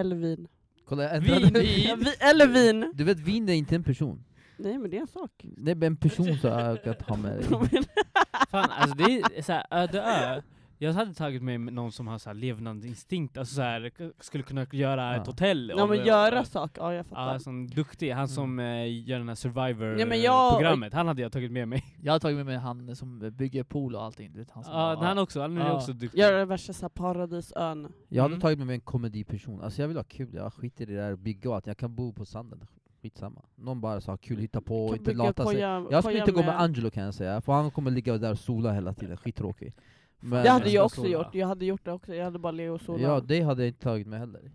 Speaker 1: Eller vin.
Speaker 2: Kolla, jag
Speaker 4: Vin,
Speaker 2: ändrade-
Speaker 1: Ja,
Speaker 4: vin!
Speaker 1: vi, eller vin!
Speaker 2: Du vet, vin är inte en person.
Speaker 1: Nej men det är en sak.
Speaker 2: Det är en person som jag kan ta med
Speaker 1: Mm.
Speaker 2: dig.
Speaker 3: Fan, alltså det är såhär, öde ö. Jag hade tagit med någon som har såhär levnadsinstinkt, alltså såhär, k- skulle kunna göra
Speaker 2: Ja.
Speaker 3: ett hotell.
Speaker 1: Ja
Speaker 3: om
Speaker 1: men
Speaker 3: det-
Speaker 1: göra saker, ja jag
Speaker 3: Ja,
Speaker 1: fattar.
Speaker 3: som duktig. Han som eh, gör den här
Speaker 1: Mm. Ja, men jag-
Speaker 3: survivor-programmet, han hade jag tagit med mig.
Speaker 4: Jag har tagit med mig han som bygger pool och allting. Du vet, han som
Speaker 3: Ja,
Speaker 4: har-
Speaker 3: han också, han är
Speaker 4: Ja.
Speaker 3: också duktig.
Speaker 1: Göra värsta så här paradisön.
Speaker 2: Jag hade
Speaker 3: Mm.
Speaker 2: tagit med mig en komediperson. Alltså jag vill ha kul, jag skiter i det där bygga och att jag kan bo på sanden. Skitsamma. Någon bara så ha kul, hitta på,
Speaker 1: Kan
Speaker 2: inte
Speaker 1: bygga
Speaker 2: lata sig.
Speaker 1: koja-
Speaker 2: Jag skulle
Speaker 1: koja
Speaker 2: inte gå med Angelo kan jag säga, för han kommer ligga där och sola hela tiden, skittråkig. Men,
Speaker 1: Det hade
Speaker 3: Nästa
Speaker 1: jag också
Speaker 3: sola.
Speaker 1: gjort, jag hade gjort det också. Jag hade bara legat och solat.
Speaker 2: Ja, det hade jag inte tagit med heller.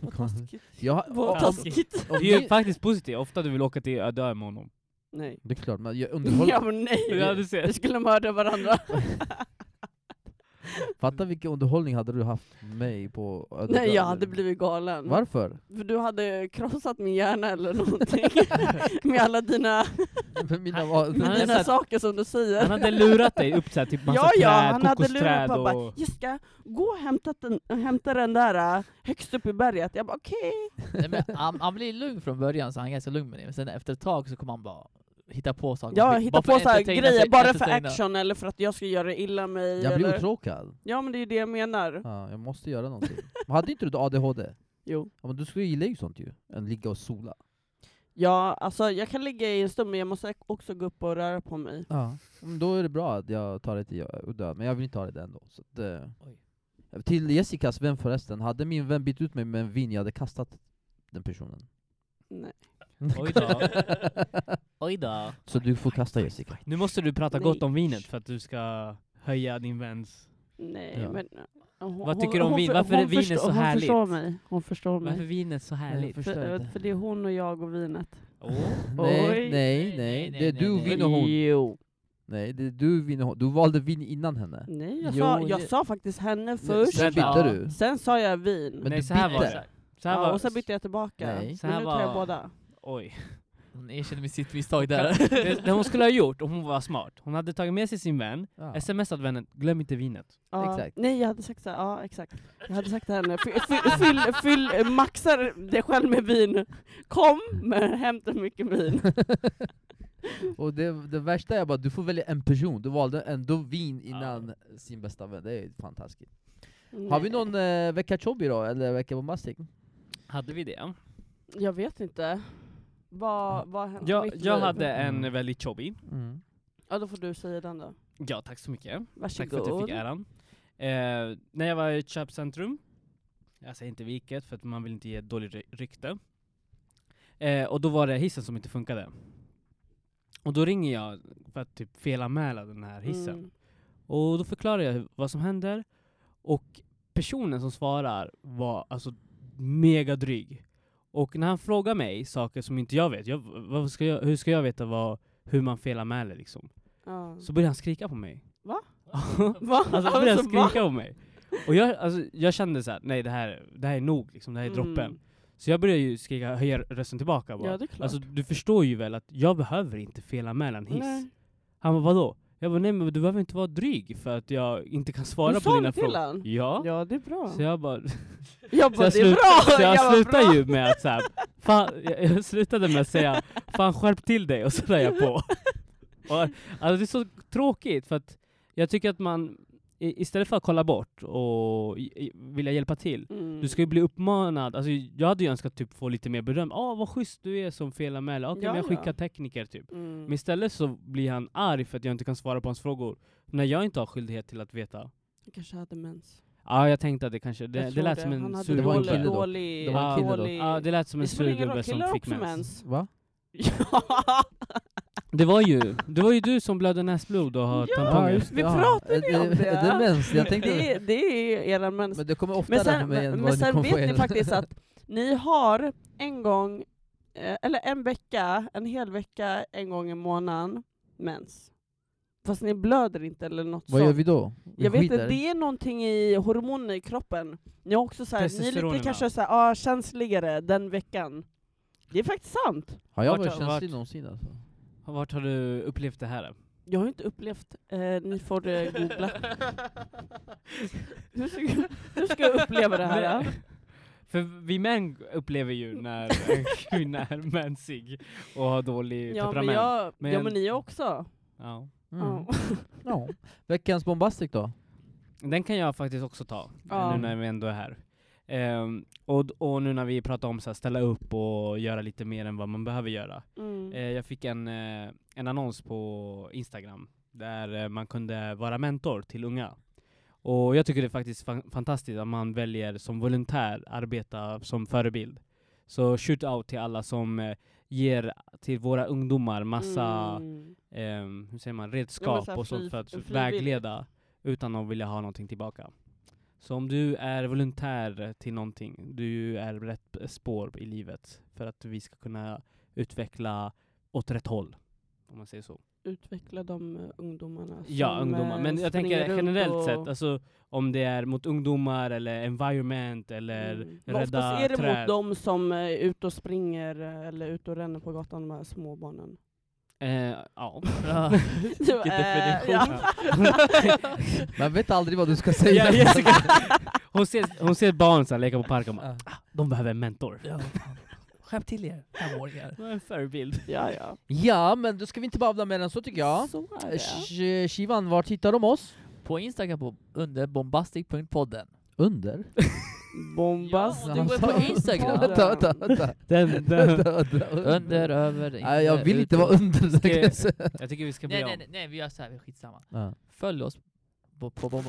Speaker 1: Vad taskigt.
Speaker 2: Jag,
Speaker 1: Vad taskigt.
Speaker 2: om
Speaker 3: Det är ju
Speaker 2: ni,
Speaker 3: faktiskt positivt, ofta du vill åka till öde ö med honom.
Speaker 1: Nej.
Speaker 2: det är klart, men jag
Speaker 1: Ja
Speaker 2: underhåller,
Speaker 1: men nej!
Speaker 3: Ja, du ser.
Speaker 1: Vi skulle mörda varandra.
Speaker 2: fatta vilken underhållning hade du haft med mig på Öde
Speaker 1: nej
Speaker 2: Dörr?
Speaker 1: jag hade blivit galen.
Speaker 2: Varför?
Speaker 1: För du hade krossat min hjärna eller någonting. Med alla dina,
Speaker 2: För Mina val.
Speaker 3: Han hade
Speaker 1: dina
Speaker 3: satt-
Speaker 1: saker som du
Speaker 3: Han
Speaker 1: säger.
Speaker 3: hade lurat dig upp såhär, typ massa
Speaker 1: Ja, ja,
Speaker 3: träd,
Speaker 1: han hade lurat
Speaker 3: kokosträd
Speaker 1: på bara,
Speaker 3: och...
Speaker 1: jag ska gå och hämta den, hämta den där äh, högst upp i berget. Jag bara okej.
Speaker 4: Nej, men han, han blir lugn från början, så han är ganska lugn med det. Men sen efter ett tag så kommer han bara hitta på saker.
Speaker 1: Jag
Speaker 4: Bara
Speaker 1: hittar
Speaker 4: för
Speaker 1: på så här
Speaker 4: entertaina-
Speaker 1: grejer bara för
Speaker 4: entertaina.
Speaker 1: action eller för att jag ska göra illa mig.
Speaker 2: Jag blir
Speaker 1: eller...
Speaker 2: uttråkad.
Speaker 1: Ja men det är ju det jag menar.
Speaker 2: Ja, jag måste göra någonting. Men hade inte du ADHD?
Speaker 1: Jo.
Speaker 2: Ja, men du skulle gilla ju sånt ju, än ligga och sola.
Speaker 1: Ja, alltså jag kan ligga i en stund men jag måste också gå upp och röra på mig.
Speaker 2: Ja. Men då är det bra att jag tar det till Udda, men jag vill inte ha det ändå. Så att, eh.
Speaker 4: Oj.
Speaker 2: Till Jessicas vän förresten, hade min vän bytt ut mig med en vin, jag hade kastat den personen.
Speaker 1: Nej.
Speaker 3: Oj då.
Speaker 4: Oj då.
Speaker 2: Så du får kasta Jessica.
Speaker 3: Nu måste du prata
Speaker 1: Nej.
Speaker 3: gott om vinet för att du ska höja din väns...
Speaker 1: Nej
Speaker 2: Ja.
Speaker 1: men... Hon,
Speaker 3: Vad tycker du om vin?
Speaker 1: för-
Speaker 3: Varför är vin
Speaker 1: förstår-
Speaker 3: så
Speaker 1: Hon
Speaker 3: härligt?
Speaker 1: förstår mig. Hon förstår mig.
Speaker 3: Varför vinet så härligt?
Speaker 2: förstår
Speaker 1: För,
Speaker 2: inte.
Speaker 1: för det är hon och jag och vinet.
Speaker 2: Nej,
Speaker 1: Oj.
Speaker 2: nej, nej.
Speaker 4: Nej,
Speaker 2: Det är
Speaker 4: nej,
Speaker 2: du,
Speaker 4: nej,
Speaker 2: vin och hon.
Speaker 1: Jo.
Speaker 2: Nej, det är du, vin och hon. Du valde vin innan henne.
Speaker 1: Nej, jag,
Speaker 2: Jo,
Speaker 1: sa, jag
Speaker 2: det-
Speaker 1: sa faktiskt henne först,
Speaker 2: Sen
Speaker 3: Vänta.
Speaker 2: bytte du.
Speaker 1: sen sa jag vin.
Speaker 2: Men
Speaker 3: Nej,
Speaker 2: du
Speaker 3: så här var
Speaker 2: bytte.
Speaker 3: det. Så här
Speaker 1: ja,
Speaker 3: var...
Speaker 1: och sen bytte jag tillbaka.
Speaker 2: Nej.
Speaker 1: Men nu tar jag
Speaker 3: Så här var-
Speaker 1: båda.
Speaker 3: Oj.
Speaker 4: Hon erkände med sitt misstag där.
Speaker 3: Det, det hon skulle ha gjort om hon var smart, hon hade tagit med sig sin vän,
Speaker 2: Ja.
Speaker 1: Alltså-
Speaker 3: smsat vännen 'Glöm inte vinet'
Speaker 1: Ja,
Speaker 2: Exakt.
Speaker 1: Nej, jag hade sagt så här, ja exakt. Jag hade sagt till henne, fy- fy- fyll, fyll, maxa dig själv med vin. Kom, men hämta mycket vin.
Speaker 2: Och det, det värsta är bara du får välja en person, du valde ändå vin innan sin bästa vän, det är fantastiskt. Har
Speaker 1: Nej.
Speaker 2: vi någon eh, vecka chobby då, eller vecka bombastic?
Speaker 3: Hade vi det?
Speaker 1: Jag vet inte. Vad, vad hände?
Speaker 3: Jag,
Speaker 1: mitt
Speaker 3: jag
Speaker 1: liv?
Speaker 3: hade en
Speaker 2: Mm.
Speaker 3: väldigt jobbig.
Speaker 2: Mm.
Speaker 1: Ja, då får du säga den då.
Speaker 3: Ja, tack så mycket. Tack för att jag
Speaker 1: Varsågod.
Speaker 3: fick äran. Eh, när jag var i ett köpcentrum, jag säger inte vilket för att man vill inte ge ett dåligt ry- rykte. Eh, och då var det hissen som inte funkade. Och då ringer jag för att typ felanmäla den här hissen.
Speaker 1: Mm.
Speaker 3: Och då förklarar jag hur- vad som händer. Och personen som svarar var alltså mega dryg. Och när han frågar mig saker som inte jag vet, jag, vad ska jag, hur ska jag veta vad, hur man felanmäler liksom?
Speaker 1: Ja.
Speaker 3: Så börjar han skrika på mig.
Speaker 1: Va? Va?
Speaker 3: alltså
Speaker 1: Alltså,
Speaker 3: började han
Speaker 1: va?
Speaker 3: skrika på mig. Och jag, alltså, jag kände så här, nej det här, det här är nog liksom, det här är droppen.
Speaker 1: Mm.
Speaker 3: Så jag började ju skrika, höja rösten tillbaka bara.
Speaker 1: Ja, det är klart.
Speaker 3: alltså du förstår ju väl att jag behöver inte felanmäla en hiss.
Speaker 1: Nej.
Speaker 3: Han bara vadå? Jag bara nej men du behöver inte vara dryg för att jag inte kan svara
Speaker 1: Du
Speaker 3: på
Speaker 1: sa
Speaker 3: dina
Speaker 1: det till
Speaker 3: frågor.
Speaker 1: han?
Speaker 3: Ja.
Speaker 1: Ja, det är bra.
Speaker 3: Så jag bara,
Speaker 1: Jag
Speaker 3: så
Speaker 1: bara,
Speaker 3: jag,
Speaker 1: det är
Speaker 3: slut,
Speaker 1: bra!
Speaker 3: så jag,
Speaker 1: bara,
Speaker 3: slutade
Speaker 1: bra.
Speaker 3: ju med att såhär, fan, jag, jag slutade med att säga fan skärp till dig och så la jag på. Och, alltså det är så tråkigt för att jag tycker att man i- istället för att kolla bort och i- i- vilja hjälpa till,
Speaker 1: Mm.
Speaker 3: du ska ju bli uppmanad, alltså jag hade ju önskat typ få lite mer beröm, ah vad schysst du är som felanmäler, okej
Speaker 1: Ja,
Speaker 3: men jag
Speaker 1: ja.
Speaker 3: skickar tekniker typ.
Speaker 1: Mm.
Speaker 3: Men istället så blir han arg för att jag inte kan svara på hans frågor, när jag inte har skyldighet till att veta. Ja,
Speaker 1: Jag kanske hade mens.
Speaker 3: jag tänkte att det kanske, det,
Speaker 1: Jag
Speaker 3: det
Speaker 1: tror
Speaker 3: lät som
Speaker 1: Han
Speaker 3: en
Speaker 1: hade
Speaker 3: sur
Speaker 2: Det var en
Speaker 1: dålig,
Speaker 2: kille då.
Speaker 1: dålig,
Speaker 2: Det var en kille då.
Speaker 1: dålig...
Speaker 3: Ja, det lät som
Speaker 1: Det
Speaker 3: en
Speaker 1: spelar ingen roll,
Speaker 3: surgubbe som
Speaker 1: killar har
Speaker 3: fick
Speaker 1: också mens.
Speaker 3: mens.
Speaker 2: Va?
Speaker 1: Ja,
Speaker 3: Det var ju, det var ju du som blödde näsblod och har
Speaker 1: Ja,
Speaker 3: tamponger.
Speaker 1: vi pratade ju om det.
Speaker 2: Är det mens? Jag
Speaker 1: det,
Speaker 2: tänkte,
Speaker 1: är- det är era mens.
Speaker 2: men det kommer oftare
Speaker 1: Men
Speaker 2: för
Speaker 1: sen,
Speaker 2: mig än
Speaker 1: men,
Speaker 2: vad
Speaker 1: men sen
Speaker 2: kommer få
Speaker 1: vet ni
Speaker 2: er.
Speaker 1: faktiskt att ni har en gång, eh, eller en vecka, en hel vecka, en gång i månaden, mens. Fast ni blöder inte eller något
Speaker 2: Vad
Speaker 1: sånt.
Speaker 2: gör vi då? Vi
Speaker 1: Jag vet
Speaker 2: skiter.
Speaker 1: inte, det är någonting i hormoner i kroppen. Ni, har också så här, ni är
Speaker 3: Testosteronerna.
Speaker 1: lite kanske så här, ah, känsligare den veckan. Det är faktiskt sant.
Speaker 2: Har jag
Speaker 3: Vart-
Speaker 2: varit
Speaker 3: vart-
Speaker 2: känslig någonsin alltså?
Speaker 3: Vart har du upplevt det här?
Speaker 1: Jag har ju inte upplevt, eh, ni får eh, googla. Hur ska, hur ska jag uppleva det här?
Speaker 3: Nej. För vi män upplever ju när en kvinna är mensig och har dålig
Speaker 1: Ja men,
Speaker 3: temperament.
Speaker 1: jag,
Speaker 3: Men-
Speaker 1: ja men ni också.
Speaker 3: Ja.
Speaker 2: Mm.
Speaker 1: Ja.
Speaker 2: Ja. Veckans bombastic då?
Speaker 3: Den kan jag faktiskt också ta,
Speaker 1: Ja.
Speaker 3: nu när vi ändå är här. Ehm, och, och nu när vi pratar om att ställa upp och göra lite mer än vad man behöver göra.
Speaker 1: Mm.
Speaker 3: Eh, jag fick en, eh, en annons på Instagram där eh, man kunde vara mentor till unga. Och jag tycker det är faktiskt fan- fantastiskt att man väljer som volontär arbeta som förebild. Så shoot out till alla som eh, ger till våra ungdomar massa
Speaker 1: Mm.
Speaker 3: ehm, hur säger man,
Speaker 1: Ja, men
Speaker 3: redskap
Speaker 1: så här
Speaker 3: och
Speaker 1: fri-
Speaker 3: sånt för att
Speaker 1: frivilligt.
Speaker 3: vägleda utan att vilja ha någonting tillbaka. Så om du är volontär till någonting, du är rätt spår i livet för att vi ska kunna utveckla åt rätt håll. Om man säger så.
Speaker 1: Utveckla de eh, ungdomarna
Speaker 3: Ja,
Speaker 1: som,
Speaker 3: ungdomar.
Speaker 1: eh,
Speaker 3: Men jag tänker
Speaker 1: springer runt
Speaker 3: generellt
Speaker 1: och-
Speaker 3: sett, alltså om det är mot ungdomar eller environment eller
Speaker 1: Mm. Men
Speaker 3: rädda
Speaker 1: Oftast är det mot
Speaker 3: träd.
Speaker 1: de som eh, är ute och springer eh, eller ute och ränner på gatan, de här små barnen.
Speaker 3: Eh, ja.
Speaker 4: Bra.
Speaker 1: Vilken
Speaker 4: definition.
Speaker 2: Man vet aldrig vad du ska säga.
Speaker 3: ja, Jessica, hon, ser, hon ser ett barn så här, leka på parken och bara, "Ah,
Speaker 2: Ja.
Speaker 3: de behöver en mentor.
Speaker 4: Ja, fan. Skärp till er, femåringar.
Speaker 3: En förebild.
Speaker 1: ja, ja.
Speaker 2: ja, men då ska vi inte babbla mer än så tycker jag.
Speaker 1: Så är
Speaker 2: Eh,
Speaker 1: det.
Speaker 2: Sh- Shivan, vart hittar de oss?
Speaker 4: På Instagram på, under bombastic.podden.
Speaker 2: Under? Alltså.
Speaker 1: Bombas.
Speaker 4: Ja, det går på Instagram.
Speaker 2: Vänta, vänta, vänta.
Speaker 3: Den, den.
Speaker 2: Vänta, vänta, under.
Speaker 4: Under, över, inte,
Speaker 2: Mm. Nej, jag vill inte
Speaker 4: utom.
Speaker 2: vara under. så kan jag
Speaker 3: Okej.
Speaker 2: säga.
Speaker 3: Jag tycker vi ska bli
Speaker 4: Nej,
Speaker 3: om.
Speaker 4: nej, nej, nej, vi gör så här, vi är skitsamma.
Speaker 2: Ja.
Speaker 4: Följ oss på, på, på,
Speaker 1: Gud,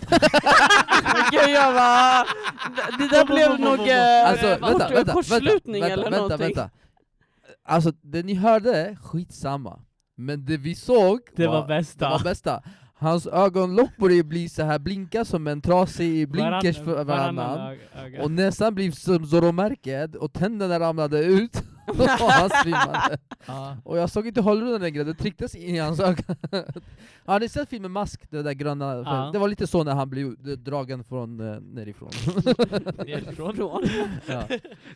Speaker 1: jag bara... Det- Det där blev nog eh,
Speaker 2: Alltså,
Speaker 1: kort-
Speaker 2: vänta, vänta,
Speaker 1: kortslutning
Speaker 2: vänta,
Speaker 1: eller
Speaker 2: vänta,
Speaker 1: någonting.
Speaker 2: Vänta. Alltså, det ni hörde, skitsamma. Men det vi såg
Speaker 3: Det var
Speaker 2: det
Speaker 3: bästa.
Speaker 2: var bästa. Hans ögonlock började bli så här blinka som en trasig blinkers för
Speaker 3: Varann-
Speaker 2: varannan.
Speaker 3: ö- öga.
Speaker 2: Och näsan blev som Zorro-märket, och tänderna ramlade ut och han svimmade.
Speaker 4: ja.
Speaker 2: Och jag såg inte hållrullen längre, det trycktes in i hans öga. Har ni sett filmen Mask? Det där gröna?
Speaker 3: Ja.
Speaker 2: Det var lite så när han blev dragen från eh, nerifrån.
Speaker 4: Nerifrån.
Speaker 1: Från.
Speaker 2: ja.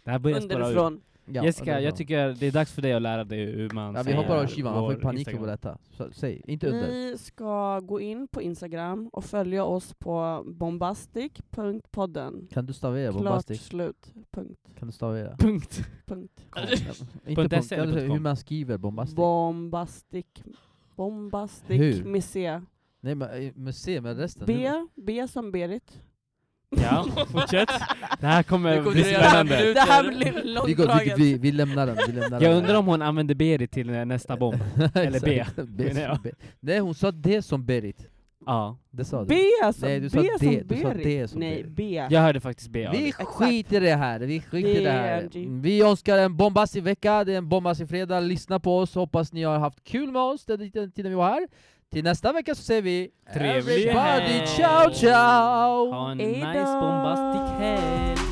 Speaker 3: Det här börjar spåra ur.
Speaker 1: Underifrån.
Speaker 2: Ja, det
Speaker 3: Jessica,
Speaker 2: är
Speaker 3: jag
Speaker 2: bra.
Speaker 3: tycker det är dags för dig att lära dig hur man
Speaker 2: Ja, vi
Speaker 3: säger
Speaker 2: hoppar av Shivan, han
Speaker 3: vår
Speaker 2: får panik
Speaker 3: Instagram.
Speaker 2: på detta. Så, säg, inte under.
Speaker 1: Ni ska gå in på Instagram och följa oss på bombastic.podden.
Speaker 2: Kan du stavera
Speaker 1: Klart
Speaker 2: bombastisk?
Speaker 1: slut. Punkt.
Speaker 2: Kan du stavera?
Speaker 3: Punkt.
Speaker 1: Punkt.
Speaker 2: inte
Speaker 3: Punkt
Speaker 2: punkt,
Speaker 3: SE
Speaker 2: kan du
Speaker 3: eller
Speaker 2: säga hur
Speaker 3: .com?
Speaker 2: man skriver bombastisk?
Speaker 1: Bombastic. Bombastic
Speaker 2: Hur?
Speaker 1: med C.
Speaker 2: Nej men, eh, men se med resten.
Speaker 1: B,
Speaker 2: Hur-
Speaker 1: B som Berit.
Speaker 3: Ja, fortsätt. Det här
Speaker 4: Det
Speaker 3: kommer
Speaker 4: kommer
Speaker 3: bli
Speaker 4: dröja fem
Speaker 3: spännande.
Speaker 4: minuter.
Speaker 1: Det här blir
Speaker 2: Vi, går, vi,
Speaker 1: långdraget.
Speaker 2: vi, vi lämnar den. Vi lämnar
Speaker 3: Jag
Speaker 2: den.
Speaker 3: undrar om hon använder Berit till eh, nästa bomb. eller B,
Speaker 2: Exakt. B,
Speaker 3: menar jag.
Speaker 2: som B. Nej hon sa det som Berit.
Speaker 3: Ja.
Speaker 2: Det sa
Speaker 1: B
Speaker 2: du.
Speaker 1: som,
Speaker 2: Nej, du sa
Speaker 1: B
Speaker 2: D.
Speaker 1: som
Speaker 2: Du sa D
Speaker 1: Berit.
Speaker 2: som
Speaker 1: Nej,
Speaker 2: Berit.
Speaker 1: B.
Speaker 3: Jag hörde faktiskt B. av
Speaker 2: Vi
Speaker 3: dig.
Speaker 1: Exakt.
Speaker 2: skiter i det här, vi skiter i det här.
Speaker 1: BRG.
Speaker 2: Vi önskar en bombastig vecka, det är en bombastig fredag, lyssna på oss, hoppas ni har haft kul med oss den tiden tiden vi var här. Till nästa vecka så säger vi
Speaker 3: Trevlig
Speaker 2: Everybody
Speaker 3: helg.
Speaker 2: ciao ciao!
Speaker 3: Ha en
Speaker 1: Hej
Speaker 3: nice
Speaker 1: då.
Speaker 3: bombastic helg.